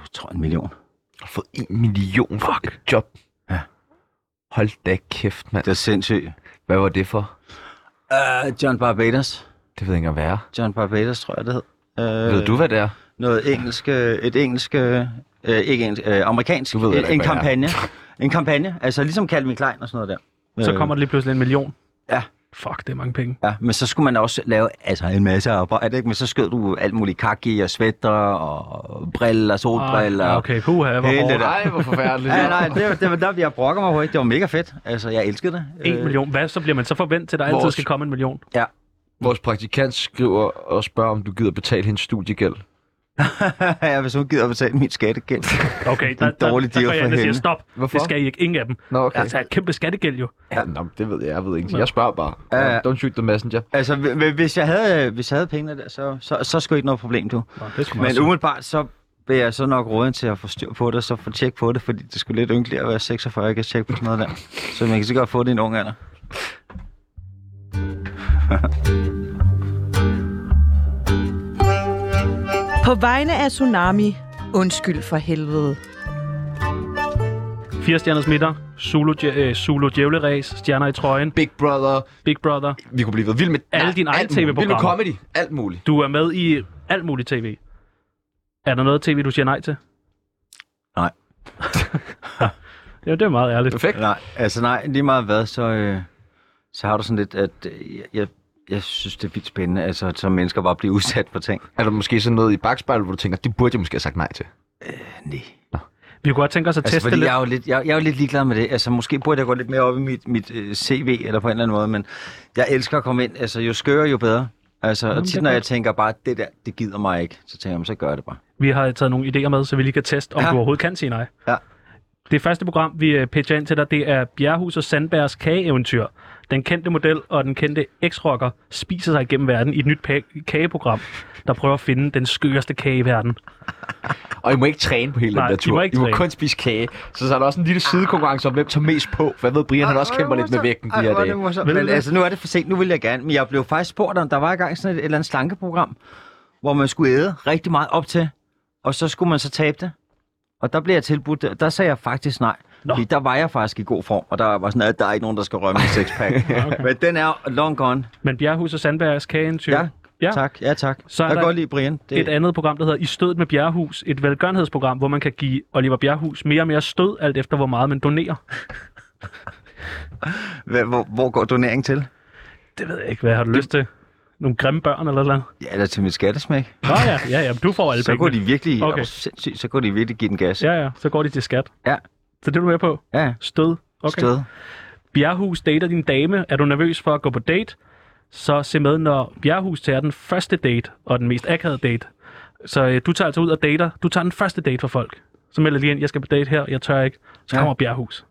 Speaker 4: Jeg tror en million.
Speaker 1: Jeg har fået en million for et job.
Speaker 4: Ja.
Speaker 1: Hold da kæft, mand.
Speaker 4: Det er sindssygt.
Speaker 1: Hvad var det for?
Speaker 4: Uh, John Barbados.
Speaker 1: Det ved jeg ikke engang, hvad er.
Speaker 4: John Barbados, tror jeg, det hed. Øh,
Speaker 1: Ved du, hvad det er?
Speaker 4: noget engelsk, øh, et engelsk, øh, øh, ikke engelsk, øh, amerikansk,
Speaker 1: Du ved
Speaker 4: en,
Speaker 1: heller ikke,
Speaker 4: en
Speaker 1: hvad det er.
Speaker 4: kampagne. En kampagne, altså ligesom Calvin Klein og sådan noget der.
Speaker 2: Så kommer der lige pludselig en million.
Speaker 4: Øh. Ja.
Speaker 2: Fuck, det er mange penge.
Speaker 4: Ja, men så skulle man også lave altså, en masse arbejde, ikke? Men så skød du alt muligt kaki og svætter og briller, solbriller.
Speaker 2: Ah, okay, puha, hvor
Speaker 4: Hele
Speaker 2: hårdt.
Speaker 4: det der.
Speaker 1: Ej, hvor (laughs) forfærdeligt.
Speaker 4: Ja, nej, det, var- det, var der, jeg brokker mig over ikke. Det var mega fedt. Altså, jeg elskede det.
Speaker 2: En
Speaker 4: Øh,
Speaker 2: million. Hvad så bliver man så forventet, at der altid
Speaker 1: Vores-
Speaker 2: skal komme en million?
Speaker 1: Vores praktikant skriver og spørger, om du gider betale hendes studiegæld.
Speaker 4: (laughs) ja, hvis hun gider betale min skattegæld.
Speaker 2: Okay, der, der,
Speaker 4: dårlig
Speaker 2: der,
Speaker 4: deal
Speaker 2: går jeg
Speaker 4: for
Speaker 2: ind og siger
Speaker 4: hende.
Speaker 2: stop.
Speaker 1: Hvorfor?
Speaker 2: Det skal I ikke. Ingen af dem.
Speaker 1: Nå, okay.
Speaker 2: Altså, et kæmpe skattegæld jo.
Speaker 1: Ja, nå, det ved jeg. Jeg ved ikke. Jeg spørger bare.
Speaker 4: Ja, ja.
Speaker 1: Don't shoot the messenger.
Speaker 4: altså, hv- hvis jeg havde, hvis jeg havde pengene der, så, så, så skulle ikke noget problem, du.
Speaker 2: Nå, det skulle
Speaker 4: Men umiddelbart, så vil jeg så nok råde til at få styr på det, og så få tjek på det, fordi det skulle lidt ynkeligt at være 46, jeg kan tjekke på sådan noget der. Så man kan sikkert få det i en ung alder.
Speaker 5: På vegne af Tsunami, undskyld for helvede.
Speaker 2: Fire stjerners midter, Zulu, djæ- øh, Zulu djævleræs, stjerner i trøjen,
Speaker 1: Big Brother.
Speaker 2: Big Brother.
Speaker 1: Vi kunne blive ved. Vild med
Speaker 2: Alle
Speaker 1: nej,
Speaker 2: dine egne
Speaker 1: alt muligt. Vild med
Speaker 2: TV-programmer.
Speaker 1: comedy. Alt muligt.
Speaker 2: Du er med i alt muligt tv. Er der noget tv, du siger nej til?
Speaker 4: Nej.
Speaker 2: (laughs) ja, det er meget ærligt.
Speaker 1: Perfekt.
Speaker 4: Nej, altså nej, lige meget hvad, så, øh, så har du sådan lidt, at øh, jeg- jeg, jeg synes, det er vildt spændende, altså som mennesker bare bliver (laughs) udsat for ting.
Speaker 1: Er der måske sådan noget i bagspejlet, hvor du tænker, det burde jeg måske have sagt nej til?
Speaker 4: Nej.
Speaker 2: Vi kunne godt tænke os at
Speaker 4: Altså,
Speaker 2: teste
Speaker 4: fordi
Speaker 2: lidt.
Speaker 4: jeg er, jo lidt, jeg, jeg er jo lidt ligeglad med det. Altså, måske burde jeg gå lidt mere op i mit, mit øh, CV eller på en eller anden måde, men jeg elsker at komme ind. Altså, jo skøre, jo bedre. Altså, og
Speaker 2: det er
Speaker 4: tit, når jeg
Speaker 2: godt.
Speaker 4: tænker bare, det der, det gider mig ikke, så tænker jeg, "Men så gør jeg det bare.
Speaker 2: Vi har taget nogle idéer med, så vi lige kan teste, om
Speaker 4: Ja.
Speaker 2: du overhovedet kan sige nej.
Speaker 4: Ja.
Speaker 2: Det første program, vi øh, pitcher ind til dig, det er Bjerrehus og Sandbergs kageeventyr. Den kendte model og den kendte eks-rocker spiser sig igennem verden i et nyt pa- kageprogram, der prøver at finde den skøreste kage i verden.
Speaker 1: Og I må ikke træne på hele
Speaker 2: Nej,
Speaker 1: den der
Speaker 2: I
Speaker 1: tur.
Speaker 2: må ikke
Speaker 1: I må
Speaker 2: træne.
Speaker 1: kun spise kage. Så, så er der også en lille sidekonkurrence om, hvem tager mest på. For jeg ved, Brian han også kæmper lidt med vægten de
Speaker 4: Ej,
Speaker 1: her
Speaker 4: hvor er det
Speaker 1: dage.
Speaker 4: morsomt.
Speaker 2: Ved du
Speaker 4: Men
Speaker 2: det?
Speaker 4: altså, nu er det for sent. Nu vil jeg gerne. Men jeg blev faktisk spurgt om, der var i gang sådan et, et eller andet slankeprogram, hvor man skulle æde rigtig meget op til, og så skulle man så tabe det. Og der blev jeg tilbudt det, og der sagde jeg faktisk nej.
Speaker 2: Nå.
Speaker 4: Nå. Fordi der var jeg faktisk i god form, og der var sådan, at der er ikke nogen, der skal (laughs) rømme en sixpack. okay. Men den er long gone.
Speaker 2: Men Bjerrehus og Sandbergs kageeventyr...
Speaker 4: Ja, ja. tak. Ja, tak.
Speaker 2: Så er
Speaker 4: jeg
Speaker 2: der
Speaker 4: kan godt lide Brian. Det,
Speaker 2: et andet program, der hedder I stødet med Bjerrehus. Et velgørenhedsprogram, hvor man kan give Oliver Bjerrehus mere og mere stød, alt efter hvor meget man donerer.
Speaker 4: Hva- hvor, hvor går doneringen til?
Speaker 2: Det ved jeg ikke, hvad har du lyst til? Nogle grimme børn eller noget?
Speaker 4: Ja, eller til mit skattesmæk.
Speaker 2: Nå ja, ja, ja, men du får alle
Speaker 4: Så går
Speaker 2: pengene.
Speaker 4: de virkelig,
Speaker 2: Okay.
Speaker 4: okay. oh, sindssygt, så går de virkelig give den gas.
Speaker 2: Ja, ja, så går de til skat.
Speaker 4: Ja.
Speaker 2: Så det er du med på?
Speaker 4: ja.
Speaker 2: Stød. Okay.
Speaker 4: Okay. Stød.
Speaker 2: Bjerrehus dater din dame. Er du nervøs for at gå på date? Så se med, når Bjerrehus tager den første date og den mest akavede date. Så øh, du tager altså ud og dater. Du tager den første date for folk. Så melder lige ind, jeg skal på date her, jeg tør ikke. Så
Speaker 4: Ja.
Speaker 2: kommer Bjerrehus.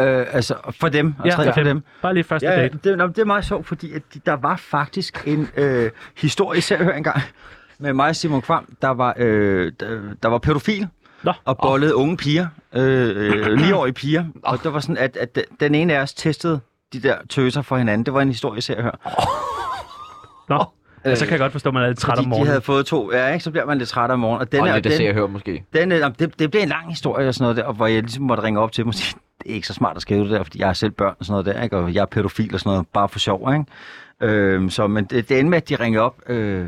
Speaker 4: Øh, altså, for dem. Altså, ja, for dem.
Speaker 2: Bare lige første
Speaker 4: Ja, ja,
Speaker 2: date.
Speaker 4: det, nå, men det er meget sjovt, fordi at de- der var faktisk en øh, historie, især jeg hørte engang, med mig og Simon Kvam, der var, øh, der, der var pædofil
Speaker 2: Nå.
Speaker 4: og bollede unge piger, øh, øh, 9-årige piger. Og det var sådan, at, at den ene af os testede de der tøser for hinanden. Det var en historie, især jeg hørte.
Speaker 2: Nå, ja, så kan jeg godt forstå, at man er lidt træt om
Speaker 4: Øh, Fordi de
Speaker 2: morgenen.
Speaker 4: havde fået to, ja, ikke? så bliver man lidt træt om morgenen. Og den,
Speaker 1: Og
Speaker 4: er,
Speaker 1: lidt, det ser
Speaker 4: den,
Speaker 1: jeg hører måske.
Speaker 4: den, øh, jamen, det, det blev en lang historie og sådan noget der, og hvor jeg ligesom måtte ringe op til dem og sige, det er ikke så smart at skrive det der, fordi jeg har selv børn og sådan noget der, ikke? og jeg er pædofil og sådan noget, bare for sjov, ikke? Øhm, så, men det, det endte med, at de ringede op, øh,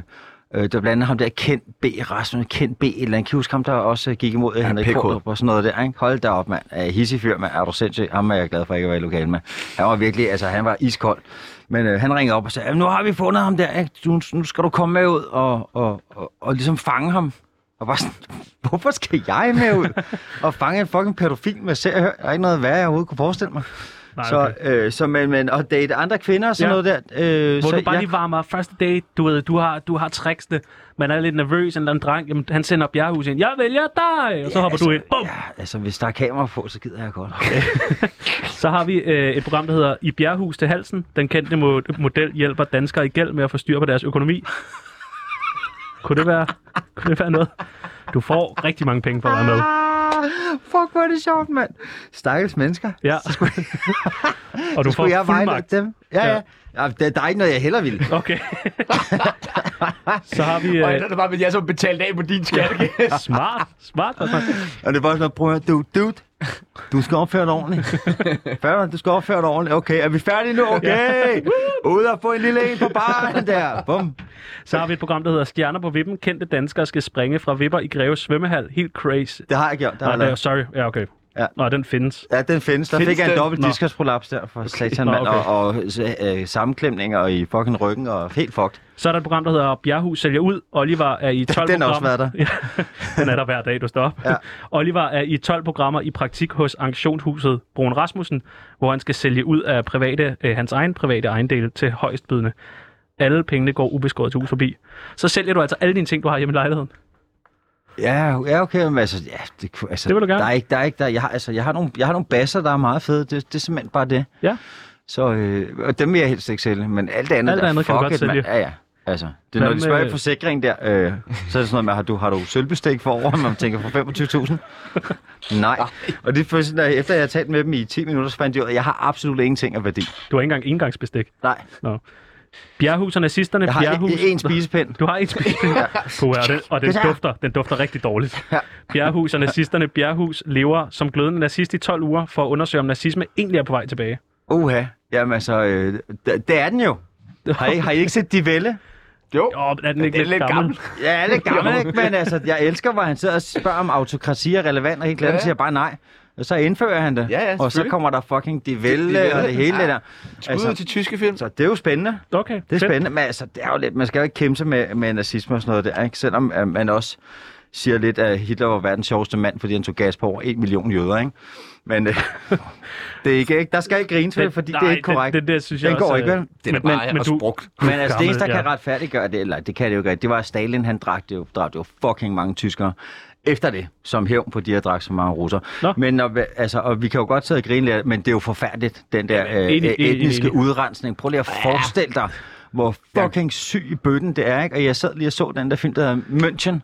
Speaker 4: øh, der blandt andet ham der Kent B. Rasmus, Kent B. et Eller han kan I huske ham, der også øh, gik imod ja, Henrik
Speaker 1: pikhoved.
Speaker 4: Kordrup og sådan noget der. Ikke? Hold da op, mand. Uh, hissig fyr, mand. Er du sindssyg? Ham er jeg glad for ikke at være i lokalet med. Han var virkelig, altså han var iskold. Men øh, han ringede op og sagde, "Jamen, nu har vi fundet ham der. Ikke? Du, nu skal du komme med ud og, og, og, og ligesom fange ham. Og bare sådan, (laughs) hvorfor skal jeg med ud og fange en fucking pædofil med serier? Der er ikke noget værre, jeg overhovedet kunne forestille mig.
Speaker 2: Nej,
Speaker 4: Så,
Speaker 2: okay.
Speaker 4: øh, så men, men, og date andre kvinder og sådan
Speaker 2: Ja.
Speaker 4: ja. noget der. Øh,
Speaker 2: Hvor
Speaker 4: så,
Speaker 2: du bare
Speaker 4: ja.
Speaker 2: lige varmer op. første date, du ved, du har, du har tricksene, man er lidt nervøs, en eller anden dreng, jamen, han sender Bjerrehus ind, jeg vælger dig, og så hopper
Speaker 4: altså,
Speaker 2: du ind, bum!
Speaker 4: Ja, altså, hvis der er kamera på, så gider jeg godt.
Speaker 2: Så har vi øh, et program, der hedder I Bjerrehus til halsen, den kendte mo- model hjælper danskere i gæld med at få styr på deres økonomi. Kunne det være, kunne det være noget? Du får rigtig mange penge for at være
Speaker 4: (laughs)
Speaker 2: med.
Speaker 4: Ah, (laughs) fuck, hvor er det sjovt, mand. Stakkels mennesker.
Speaker 2: Ja. og du får
Speaker 4: Skulle jeg vejlede
Speaker 2: fuldmagt.
Speaker 4: dem? Ja,
Speaker 2: Ja.
Speaker 4: ja. ja der, der er ikke noget, jeg heller ville.
Speaker 2: Okay. (laughs) så har vi...
Speaker 1: Og
Speaker 2: Øh,
Speaker 1: ender det bare med, at jeg så betalt af på din skattegæst.
Speaker 2: smart, smart. smart.
Speaker 4: Og det er bare sådan, at, prøv at høre, du, dude, du skal opføre dig
Speaker 2: (laughs)
Speaker 4: ordentligt. Færdig, du skal opføre dig ordentligt. Okay, er vi færdige nu?
Speaker 2: (laughs)
Speaker 4: Okay. Ud og få en lille en på baren der. Bum.
Speaker 2: Så har vi et program, der hedder Stjerner på Vippen. Kendte danskere skal springe fra vipper i Greve svømmehal. Helt crazy.
Speaker 4: Det har jeg gjort. Der
Speaker 2: Nej,
Speaker 4: har
Speaker 2: nej,
Speaker 4: jeg
Speaker 2: sorry. Ja, okay.
Speaker 4: Ja.
Speaker 2: Nå, den findes.
Speaker 4: Ja, den findes. Der
Speaker 1: Findes
Speaker 4: fik jeg en
Speaker 1: den?
Speaker 4: dobbelt
Speaker 2: Nå.
Speaker 4: diskusprolaps der for satan,
Speaker 2: Nå,
Speaker 4: mand.
Speaker 2: okay.
Speaker 4: Og, og øh, sammenklemninger og i fucking ryggen og helt fucked.
Speaker 2: Så er der et program, der hedder Bjerghus sælger ud. Oliver er i 12
Speaker 4: Den har også
Speaker 2: programmer.
Speaker 4: været der.
Speaker 2: Ja, den er der hver dag, du står op.
Speaker 4: Ja.
Speaker 2: (laughs) Oliver er i 12 programmer i praktik hos auktionshuset Brun Rasmussen, hvor han skal sælge ud af private, øh, hans egen private ejendele til højstbydende. Alle pengene går ubeskåret til hus forbi. Så sælger du altså alle dine ting, du har hjemme i lejligheden.
Speaker 4: Ja, ja okay, men altså, ja, det, kunne- altså,
Speaker 2: Det vil du gerne.
Speaker 4: Der er ikke, der er ikke, der, jeg har, altså, jeg har nogle, jeg har nogle basser, der er meget fede. Det, det er simpelthen bare det.
Speaker 2: Ja.
Speaker 4: Så, øh, og dem vil jeg helst ikke sælge, men alt det andet,
Speaker 2: Alt
Speaker 4: der,
Speaker 2: andet kan du
Speaker 4: fuck
Speaker 2: godt
Speaker 4: it, mand.
Speaker 2: sælge.
Speaker 4: Ja, ja. Altså, det
Speaker 2: Hvad
Speaker 4: er, når de
Speaker 2: med-
Speaker 4: spørger i forsikring der, øh, så er det sådan noget med, har du, har du sølvbestik for over, man tænker for
Speaker 2: (laughs)
Speaker 4: 25.000? Nej. Og det er først, når- efter jeg har talt med dem i 10 minutter, så fandt de ud af, at jeg har absolut ingenting af værdi.
Speaker 2: Du har ikke engang engangsbestik.
Speaker 4: Nej,
Speaker 2: Bjerghus og nazisterne.
Speaker 4: jeg har
Speaker 2: Bjerghus.
Speaker 4: en, en spisepind.
Speaker 2: Du har en spisepind. Puh, og den, og den
Speaker 4: Det der.
Speaker 2: dufter, den dufter rigtig dårligt. Bjerghus og nazisterne. Bjerghus lever som glødende nazist i 12 uger for at undersøge, om nazisme egentlig er på vej tilbage.
Speaker 4: Uha. Jamen altså, øh, d- det er den jo. Har I, har I ikke set De Velle?
Speaker 1: (laughs) Jo,
Speaker 2: Åh, oh, er den ikke
Speaker 1: er
Speaker 2: lidt,
Speaker 1: lidt
Speaker 2: gammel?
Speaker 1: gammel.
Speaker 4: Ja, det er gammel, ikke? Men altså, jeg elsker, hvor han sidder og spørger, om autokrati er relevant, og helt glemt,
Speaker 1: Ja,
Speaker 4: ja.
Speaker 1: ja.
Speaker 4: siger bare nej. Og så indfører han det.
Speaker 1: Ja, ja,
Speaker 4: og så
Speaker 1: selvfølgelig.
Speaker 4: kommer der fucking de
Speaker 1: De
Speaker 4: vælge
Speaker 1: Velle.
Speaker 4: og det hele
Speaker 1: Ja.
Speaker 4: det der.
Speaker 1: altså,
Speaker 4: Altså,
Speaker 1: til tyske film.
Speaker 4: så det er jo spændende.
Speaker 2: Okay,
Speaker 4: Det er
Speaker 2: fedt.
Speaker 4: spændende, men altså, det er jo lidt, man skal jo ikke kæmpe sig med, med nazisme og sådan noget der, ikke? Selvom at man også siger lidt, at Hitler var verdens sjoveste mand, fordi han tog gas på over en million jøder, ikke? Men (laughs) øh, det er ikke, ikke, der skal ikke grine til det, fordi det er ikke korrekt.
Speaker 2: Det, det, det synes
Speaker 4: Den
Speaker 2: jeg også,
Speaker 4: går
Speaker 2: øh,
Speaker 4: ikke, vel?
Speaker 1: Det er bare men, også
Speaker 2: du-
Speaker 1: brugt.
Speaker 4: Men altså, det eneste, der
Speaker 2: Gammel,
Speaker 4: kan
Speaker 2: ja.
Speaker 4: retfærdiggøre det, eller det kan det jo ikke, det var, at Stalin, han drak det jo, drak det jo fucking mange tyskere efter det, som hævn på de, der drak så mange russer.
Speaker 2: Nå.
Speaker 4: Men når, vi- altså, og vi kan jo godt sidde og grine lidt, men det er jo forfærdeligt, den der
Speaker 2: Jamen,
Speaker 4: øh,
Speaker 2: enig,
Speaker 4: øh,
Speaker 2: enig, enig,
Speaker 4: etniske
Speaker 2: enig.
Speaker 4: udrensning. Prøv lige at forestille dig, hvor fucking syg i bøtten det er, ikke? Og jeg sad lige og så den der film, der hedder München.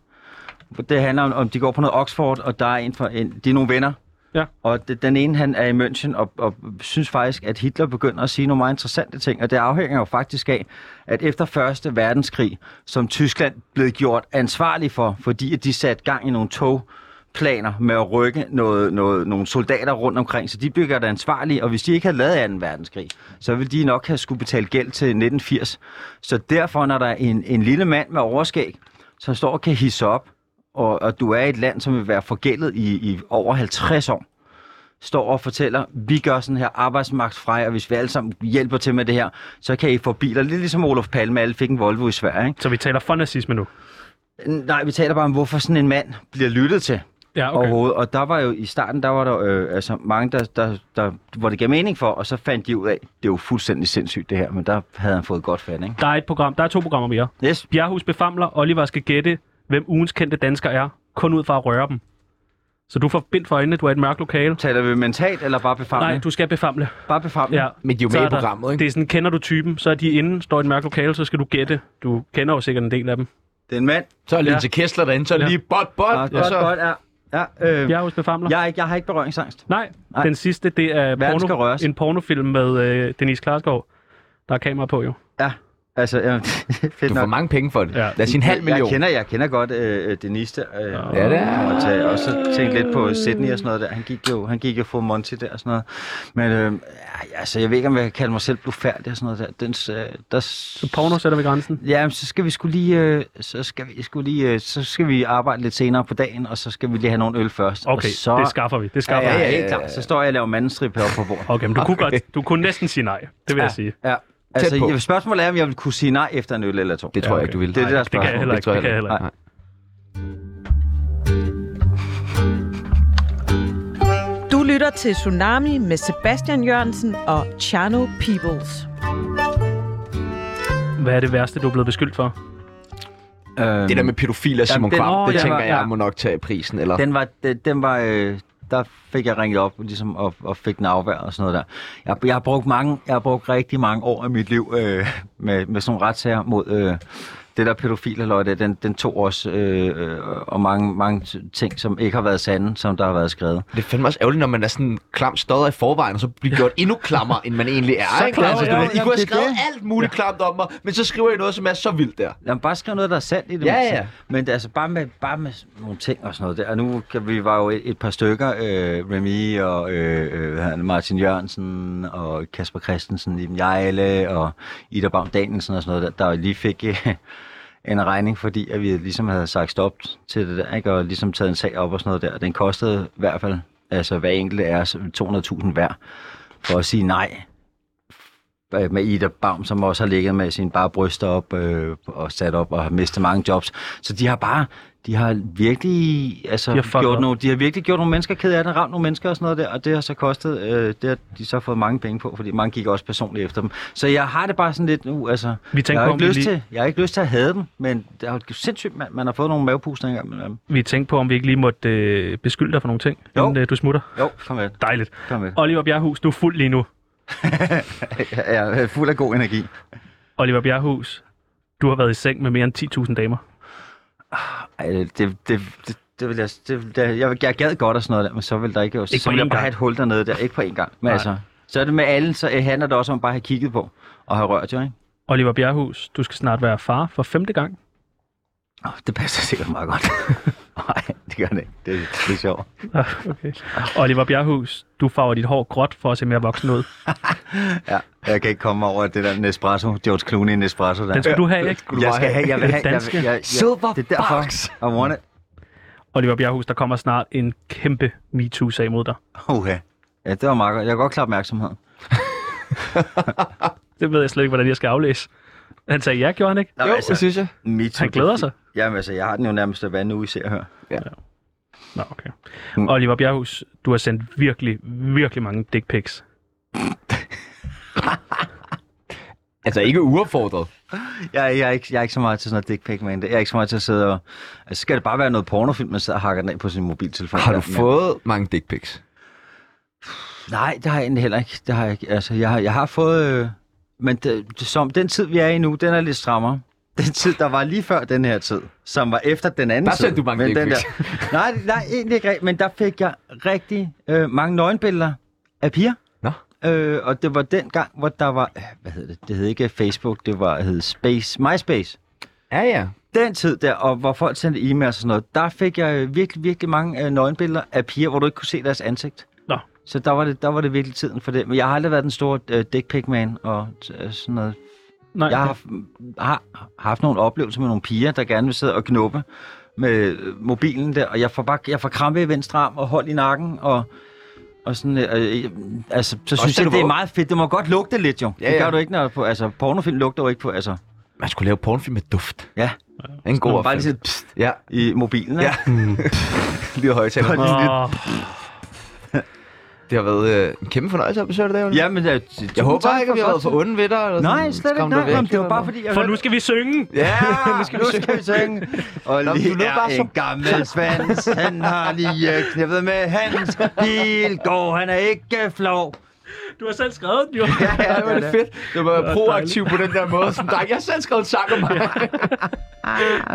Speaker 4: Det handler om, om de går på noget Oxford, og der er en for en, de er nogle venner, og det, den ene, han er i München og, og synes faktisk, at Hitler begynder at sige nogle meget interessante ting. Og det afhænger jo faktisk af, at efter 1. verdenskrig, som Tyskland blev gjort ansvarlig for, fordi at de satte gang i nogle togplaner med at rykke noget, noget, nogle soldater rundt omkring. Så de blev gjort ansvarlige, og hvis de ikke havde lavet 2. verdenskrig, så ville de nok have skulle betale gæld til 1980. Så derfor, når der er en, en lille mand med overskæg, som står og kan hisse op, og, og du er i et land, som vil være forgældet i, i over 50 år, står og fortæller, vi gør sådan her arbejdsmarkedsfrej, og hvis vi alle sammen hjælper til med det her, så kan I få biler. Lidt ligesom Olof Palme, alle fik en Volvo i Sverige. Ikke?
Speaker 2: Så vi taler for nazisme nu.
Speaker 4: Nej, vi taler bare om, hvorfor sådan en mand bliver lyttet til
Speaker 2: Ja,
Speaker 4: okay.
Speaker 2: okay.
Speaker 4: overhovedet. Og der var jo i starten, der var der øh, altså mange, der, der, der, hvor det gav mening for, og så fandt de ud af, det er jo fuldstændig sindssygt det her, men der havde han fået godt fat, ikke?
Speaker 2: Der er et program, der er to programmer mere.
Speaker 4: Yes.
Speaker 2: Bjerghus befamler, Oliver skal gætte, hvem ugens kendte dansker er, kun ud fra at røre dem. Så du får bind for øjnene, du er i et mørkt lokale.
Speaker 4: Taler vi mentalt, eller bare befamle?
Speaker 2: Nej, du skal befamle.
Speaker 4: Bare befamle.
Speaker 2: Ja.
Speaker 1: Mm. Men de er jo
Speaker 2: Så
Speaker 1: med
Speaker 2: er
Speaker 1: i
Speaker 2: der-
Speaker 1: programmet, ikke?
Speaker 2: Det er sådan, kender du typen, så er de inde, står i et mørkt lokale, så skal du gætte. Du kender jo sikkert en del af dem.
Speaker 4: Det er en mand.
Speaker 1: Så er Linse Kessler derinde, så er det
Speaker 2: Ja.
Speaker 1: lige bot, bot,
Speaker 4: Ja,
Speaker 1: og
Speaker 4: godt,
Speaker 1: så...
Speaker 4: godt, ja. ja øh,
Speaker 2: Bjerghus befamler.
Speaker 4: jeg, er ikke, jeg har ikke berøringsangst.
Speaker 2: Nej,
Speaker 4: Nej.
Speaker 2: den sidste, det er
Speaker 4: Verden skal
Speaker 2: porno,
Speaker 4: røres.
Speaker 2: en pornofilm med øh, Denise Klarskov. Der er kamera på jo.
Speaker 4: Ja, altså, ja, (laughs) fedt
Speaker 1: Du
Speaker 4: nok.
Speaker 1: får mange penge for det.
Speaker 2: Ja.
Speaker 1: Lad os sige en halv million.
Speaker 4: Jeg kender, jeg kender godt øh, øh, Denise der. Øh,
Speaker 1: Ja, det er.
Speaker 4: og, tage, og så tænkte lidt på Sydney og sådan noget der. Han gik jo, han gik jo for Monty der og sådan noget. Men øh, ja, altså, jeg ved ikke, om jeg kan kalde mig selv blufærdig og sådan noget der. Dens, øh, der
Speaker 2: Så porno sætter vi grænsen.
Speaker 4: Ja, men så skal vi skulle lige, øh, så skal vi skulle lige, øh, så skal vi arbejde lidt senere på dagen, og så skal vi lige have nogle øl først.
Speaker 2: Okay,
Speaker 4: og så,
Speaker 2: det skaffer vi. Det
Speaker 4: Ja,
Speaker 2: skaffer
Speaker 4: ja,
Speaker 2: vi.
Speaker 4: ja, helt klart. Så står jeg og laver mandestrip heroppe på bordet.
Speaker 2: Okay, men du, kunne godt, du kunne næsten sige nej. Det vil jeg sige.
Speaker 4: Ja. Altså,
Speaker 1: på.
Speaker 4: jeg- spørgsmålet er, om jeg vil kunne sige nej efter en øl eller to.
Speaker 1: Det tror
Speaker 2: Ja,
Speaker 1: jeg ikke, du vil.
Speaker 4: Det er det, der er
Speaker 2: Det kan jeg heller ikke.
Speaker 1: tror
Speaker 2: Det kan jeg heller ikke.
Speaker 1: Nej.
Speaker 5: Du lytter til Tsunami med Sebastian Jørgensen og Chano Peoples.
Speaker 2: Hvad er det værste, du er blevet beskyldt for?
Speaker 4: Øhm,
Speaker 1: Det der med pædofil og Simon
Speaker 4: den-
Speaker 1: Kvam,
Speaker 2: Åh,
Speaker 1: det
Speaker 2: ja,
Speaker 1: tænker
Speaker 4: ja.
Speaker 1: jeg må nok tage prisen, eller...
Speaker 4: Den var, den, den var øh, der fik jeg ringet op ligesom, og, og fik den afvær og sådan noget der. Jeg, jeg, har brugt mange, jeg har brugt rigtig mange år af mit liv øh, med, med sådan nogle retssager mod øh, det der pædofil det, den, den tog os, øh, øh, og mange, mange t- ting, som ikke har været sande, som der har været skrevet.
Speaker 1: Det er fandme også ærgerligt, når man er sådan klam stodder i forvejen, og så bliver gjort endnu klammere, end man egentlig er.
Speaker 4: (laughs) Så
Speaker 1: ikke?
Speaker 4: klam,
Speaker 1: altså,
Speaker 4: ja,
Speaker 1: du ved, I
Speaker 4: jamen,
Speaker 1: kunne have
Speaker 4: det er
Speaker 1: skrevet
Speaker 4: det.
Speaker 1: alt muligt klamt om mig, men så skriver I noget, som er så vildt der.
Speaker 4: Jamen bare skrive noget, der er sandt i det
Speaker 1: Ja,
Speaker 4: mindste.
Speaker 1: ja.
Speaker 4: Men det, er altså bare med, bare med nogle ting og sådan noget der. Og nu kan vi var jo et, et par stykker, øh, Remy og øh, øh, hvad hedder han, Martin Jørgensen og Kasper Christensen, Iben Jejle og Ida Baum Danielsen og sådan noget der, der jo lige fik øh, en regning, fordi at vi ligesom havde sagt stop til det der, ikke? og ligesom taget en sag op og sådan noget der. Den kostede i hvert fald, altså hver enkelt af os, 200.000 hver, for at sige nej øh, med Ida Baum, som også har ligget med sine bare bryster op øh, og sat op og har mistet mange jobs. Så de har bare, de har virkelig, altså,
Speaker 2: De har
Speaker 4: de
Speaker 2: fucket
Speaker 4: har gjort
Speaker 2: op.
Speaker 4: nogle, de har virkelig gjort nogle mennesker ked af det, ramt nogle mennesker og sådan noget der, og det har så kostet, øh, det har de så fået mange penge på, fordi mange gik også personligt efter dem. Så jeg har det bare sådan lidt nu, altså,
Speaker 2: Vi tænker
Speaker 4: jeg, har
Speaker 2: på, om vi
Speaker 4: ikke lyst
Speaker 2: lige-
Speaker 4: til, jeg har ikke lyst til at have dem, men det er jo sindssygt, man, man har fået nogle øhm, mavepuster engang med dem.
Speaker 2: Vi tænkte på, om vi ikke lige måtte øh, beskylde dig for nogle ting,
Speaker 4: Jo.
Speaker 2: inden øh, du smutter.
Speaker 4: Jo,
Speaker 2: (laughs)
Speaker 4: kom med,
Speaker 2: Dejligt.
Speaker 4: kom med.
Speaker 2: Oliver Bjerghus, du er fuld lige nu.
Speaker 4: Jeg er fuld af god energi.
Speaker 2: Oliver Bjerghus, du har været i seng med mere end 10.000 damer.
Speaker 4: Ej, det, det, det, det vil jeg, det, det, jeg, jeg gad godt og sådan noget der, men så vil der ikke, ikke
Speaker 2: på
Speaker 4: så vil
Speaker 2: én
Speaker 4: jeg bare
Speaker 2: gang.
Speaker 4: have et hul dernede der, ikke på en gang. Men
Speaker 2: Nej.
Speaker 4: altså, så er det med alle, så øh, handler det også om bare at have kigget på og have rørt jo, ikke?
Speaker 2: Oliver Bjerghus, du skal snart være far for femte gang. (laughs)
Speaker 4: Oh, det passer sikkert meget godt. (laughs) Nej, det gør det ikke. Det, det er sjovt.
Speaker 2: Ah, okay. Oliver Bjerghus, du farver dit hår gråt for at se mere voksen ud.
Speaker 4: Ja, jeg kan ikke komme over det der Nespresso, George Clooney Nespresso der.
Speaker 2: Den skal du have, ikke?
Speaker 4: jeg skal have, jeg vil have, jeg,
Speaker 2: Danske.
Speaker 4: vil- jeg, jeg,
Speaker 1: Silver
Speaker 4: det er derfor, I want it.
Speaker 2: Oliver Bjerghus, der kommer snart en kæmpe MeToo-sag mod dig.
Speaker 4: Uha. Ja, det var meget godt. Jeg kan godt klare opmærksomheden.
Speaker 2: Det ved jeg slet ikke, hvordan jeg skal aflæse. Han sagde, ja, gjorde han ikke?
Speaker 4: Nå, altså,
Speaker 1: synes jeg.
Speaker 4: me too,
Speaker 2: Han glæder sig.
Speaker 4: Jamen altså, jeg har den jo nærmest hver nu, I ser og hører.
Speaker 2: Nå, okay.
Speaker 4: Mm.
Speaker 2: Oliver Bjerghus, du har sendt virkelig, virkelig mange dick pics.
Speaker 1: Altså ikke uopfordret.
Speaker 4: Jeg, jeg, er ikke, jeg er ikke så meget til sådan noget dick pic, man. Jeg er ikke så meget til at sidde og... Altså, skal det bare være noget pornofilm, man sidder og hakker den af på sin mobiltelefon?
Speaker 1: Har du
Speaker 4: Ja, men-
Speaker 1: fået mange dick pics?
Speaker 4: Nej, det har jeg egentlig heller ikke. Det har jeg ikke. Altså, jeg har, jeg har fået... Øh, men det, det, som, den tid, vi er i nu, den er lidt strammere. Den tid, der var lige før den her tid, som var efter den anden
Speaker 1: Der
Speaker 4: tid.
Speaker 1: sendte du mange
Speaker 4: men den
Speaker 1: dick
Speaker 4: Nej, nej, egentlig ikke rigtigt, men der fik jeg rigtig øh, mange nøgenbilleder af piger.
Speaker 1: Nå.
Speaker 4: Øh, og det var den gang, hvor der var... Øh, hvad hed det? Det hed ikke Facebook, det var hed Space, MySpace.
Speaker 1: Ja, ja.
Speaker 4: den tid der, og hvor folk sendte e-mails og sådan noget, der fik jeg øh, virkelig, virkelig mange øh, nøgenbilleder af piger, hvor du ikke kunne se deres ansigt.
Speaker 2: Nå.
Speaker 4: Så der var, det, der var det virkelig tiden for det. Men jeg har aldrig været den store øh, dick pic man og øh, sådan noget.
Speaker 2: Nej,
Speaker 4: Jeg har, haft- har, har haft nogle oplevelser med nogle piger, der gerne vil sidde og knuppe med øh, mobilen der, og jeg får, bare, jeg får krampe i venstre arm og hold i nakken, og, og sådan, øh, øh, altså, så synes
Speaker 1: da du
Speaker 4: jeg,
Speaker 1: var
Speaker 4: det er
Speaker 1: ung.
Speaker 4: meget fedt. Det må godt lugte lidt jo.
Speaker 1: Ja,
Speaker 4: det
Speaker 1: ja.
Speaker 4: gør du ikke, når på, altså, pornofilm lugter jo ikke på, altså,
Speaker 1: Man skulle lave pornofilm med duft.
Speaker 4: ja,
Speaker 1: Det er en god
Speaker 4: bare lige
Speaker 1: opfindelse.
Speaker 4: sådan, pst,
Speaker 1: Ja,
Speaker 4: i mobilen, ikke?
Speaker 1: Ja. lige højtaler.
Speaker 2: Åh,
Speaker 1: Det har været øh, en kæmpe fornøjelse at besøge dig, David.
Speaker 4: Ja, men øh, jeg, jeg,
Speaker 1: Jeg håber ikke, at vi har været for onde ved dig. Eller
Speaker 4: Nej,
Speaker 1: sådan,
Speaker 4: slet ikke.
Speaker 1: skræmme dig
Speaker 4: Nej,
Speaker 1: væk
Speaker 4: Jamen, det var
Speaker 1: eller
Speaker 4: bare
Speaker 1: noget.
Speaker 4: fordi, jeg
Speaker 2: for nu skal vi synge!
Speaker 4: (laughs)
Speaker 1: Ja,
Speaker 4: nu skal, vi, skal vi synge. (laughs) Og
Speaker 1: Nå, men
Speaker 4: lige
Speaker 1: du lød
Speaker 4: er
Speaker 1: bare så-
Speaker 4: en (laughs) gammel svans, han har lige øh, knippet med hans bilgård, han er ikke øh, flov.
Speaker 2: Du har selv skrevet
Speaker 4: (laughs)
Speaker 2: den, jo.
Speaker 1: Ja, det var det fedt. Det var
Speaker 2: var
Speaker 1: proaktiv på den der måde. Sådan, "Dreng, jeg har selv skrevet en sang om
Speaker 2: (laughs)
Speaker 1: mig.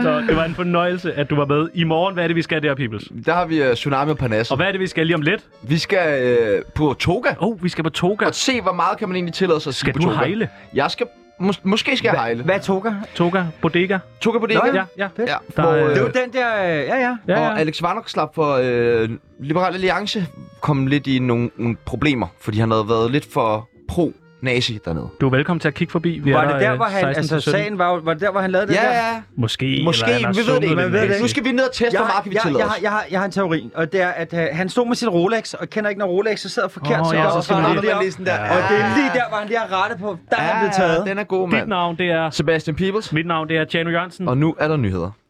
Speaker 2: Så det var en fornøjelse, at du var med. I morgen, hvad er det, vi skal der, Peoples?
Speaker 1: Der har vi øh, Tsunami og Parnasse.
Speaker 2: Og hvad er det, vi skal lige om lidt?
Speaker 1: Vi skal øh, på toga.
Speaker 2: Åh, oh, vi skal på toga.
Speaker 1: Og se, hvor meget kan man egentlig tillade sig at sige
Speaker 2: Skal
Speaker 1: på
Speaker 2: du
Speaker 1: toga.
Speaker 2: hejle?
Speaker 1: Jeg skal... Mås- måske skal jeg hejle.
Speaker 4: Hvad toker?
Speaker 2: Toga? Bodega?
Speaker 1: Toga på det
Speaker 4: Nå,
Speaker 1: ikke?
Speaker 2: Ja, ja.
Speaker 1: Ja,
Speaker 2: Der
Speaker 1: hvor,
Speaker 2: er-
Speaker 1: øh,
Speaker 4: Det var den der, øh, ja ja.
Speaker 2: ja,
Speaker 1: Og
Speaker 2: ja.
Speaker 1: Alex Vanok slap for øh, Liberal Alliance kom lidt i nogle, nogle problemer, fordi han havde været lidt for pro-nazi dernede.
Speaker 2: Du er velkommen til at kigge forbi. Vi
Speaker 4: Var
Speaker 2: er
Speaker 4: det der, hvor han,
Speaker 2: 16 til
Speaker 4: altså
Speaker 2: 17.
Speaker 4: sagen var, jo- var det der, hvor han lavede det der?
Speaker 1: Ja, ja.
Speaker 2: Måske.
Speaker 1: Måske,
Speaker 2: eller han har
Speaker 1: vi ved det
Speaker 2: sunget
Speaker 1: ikke.
Speaker 2: den
Speaker 4: ved det
Speaker 2: næste.
Speaker 1: Nu skal vi ned og teste,
Speaker 4: Jeg
Speaker 1: hvor
Speaker 4: har,
Speaker 1: meget kan vi
Speaker 4: jeg,
Speaker 1: tillade
Speaker 4: jeg,
Speaker 1: os.
Speaker 4: har, jeg, har, jeg har en teori, og det er, at øh, han stod med sit Rolex, og kender ikke, når Rolexet sidder forkert,
Speaker 2: Åh,
Speaker 4: så,
Speaker 2: ja,
Speaker 4: der
Speaker 2: så
Speaker 4: var
Speaker 2: skal
Speaker 4: bare
Speaker 2: man
Speaker 4: noget
Speaker 1: lige-
Speaker 4: deroppe.
Speaker 1: lige sådan der.
Speaker 4: Og det er lige der, hvor han lige har rettet på, der er han blevet taget.
Speaker 1: den er god,
Speaker 2: Dit
Speaker 1: mand.
Speaker 2: navn, det er...
Speaker 1: Sebastian Peebles.
Speaker 2: Mit navn, det er Tjano Jørgensen.
Speaker 1: Og nu er der nyheder.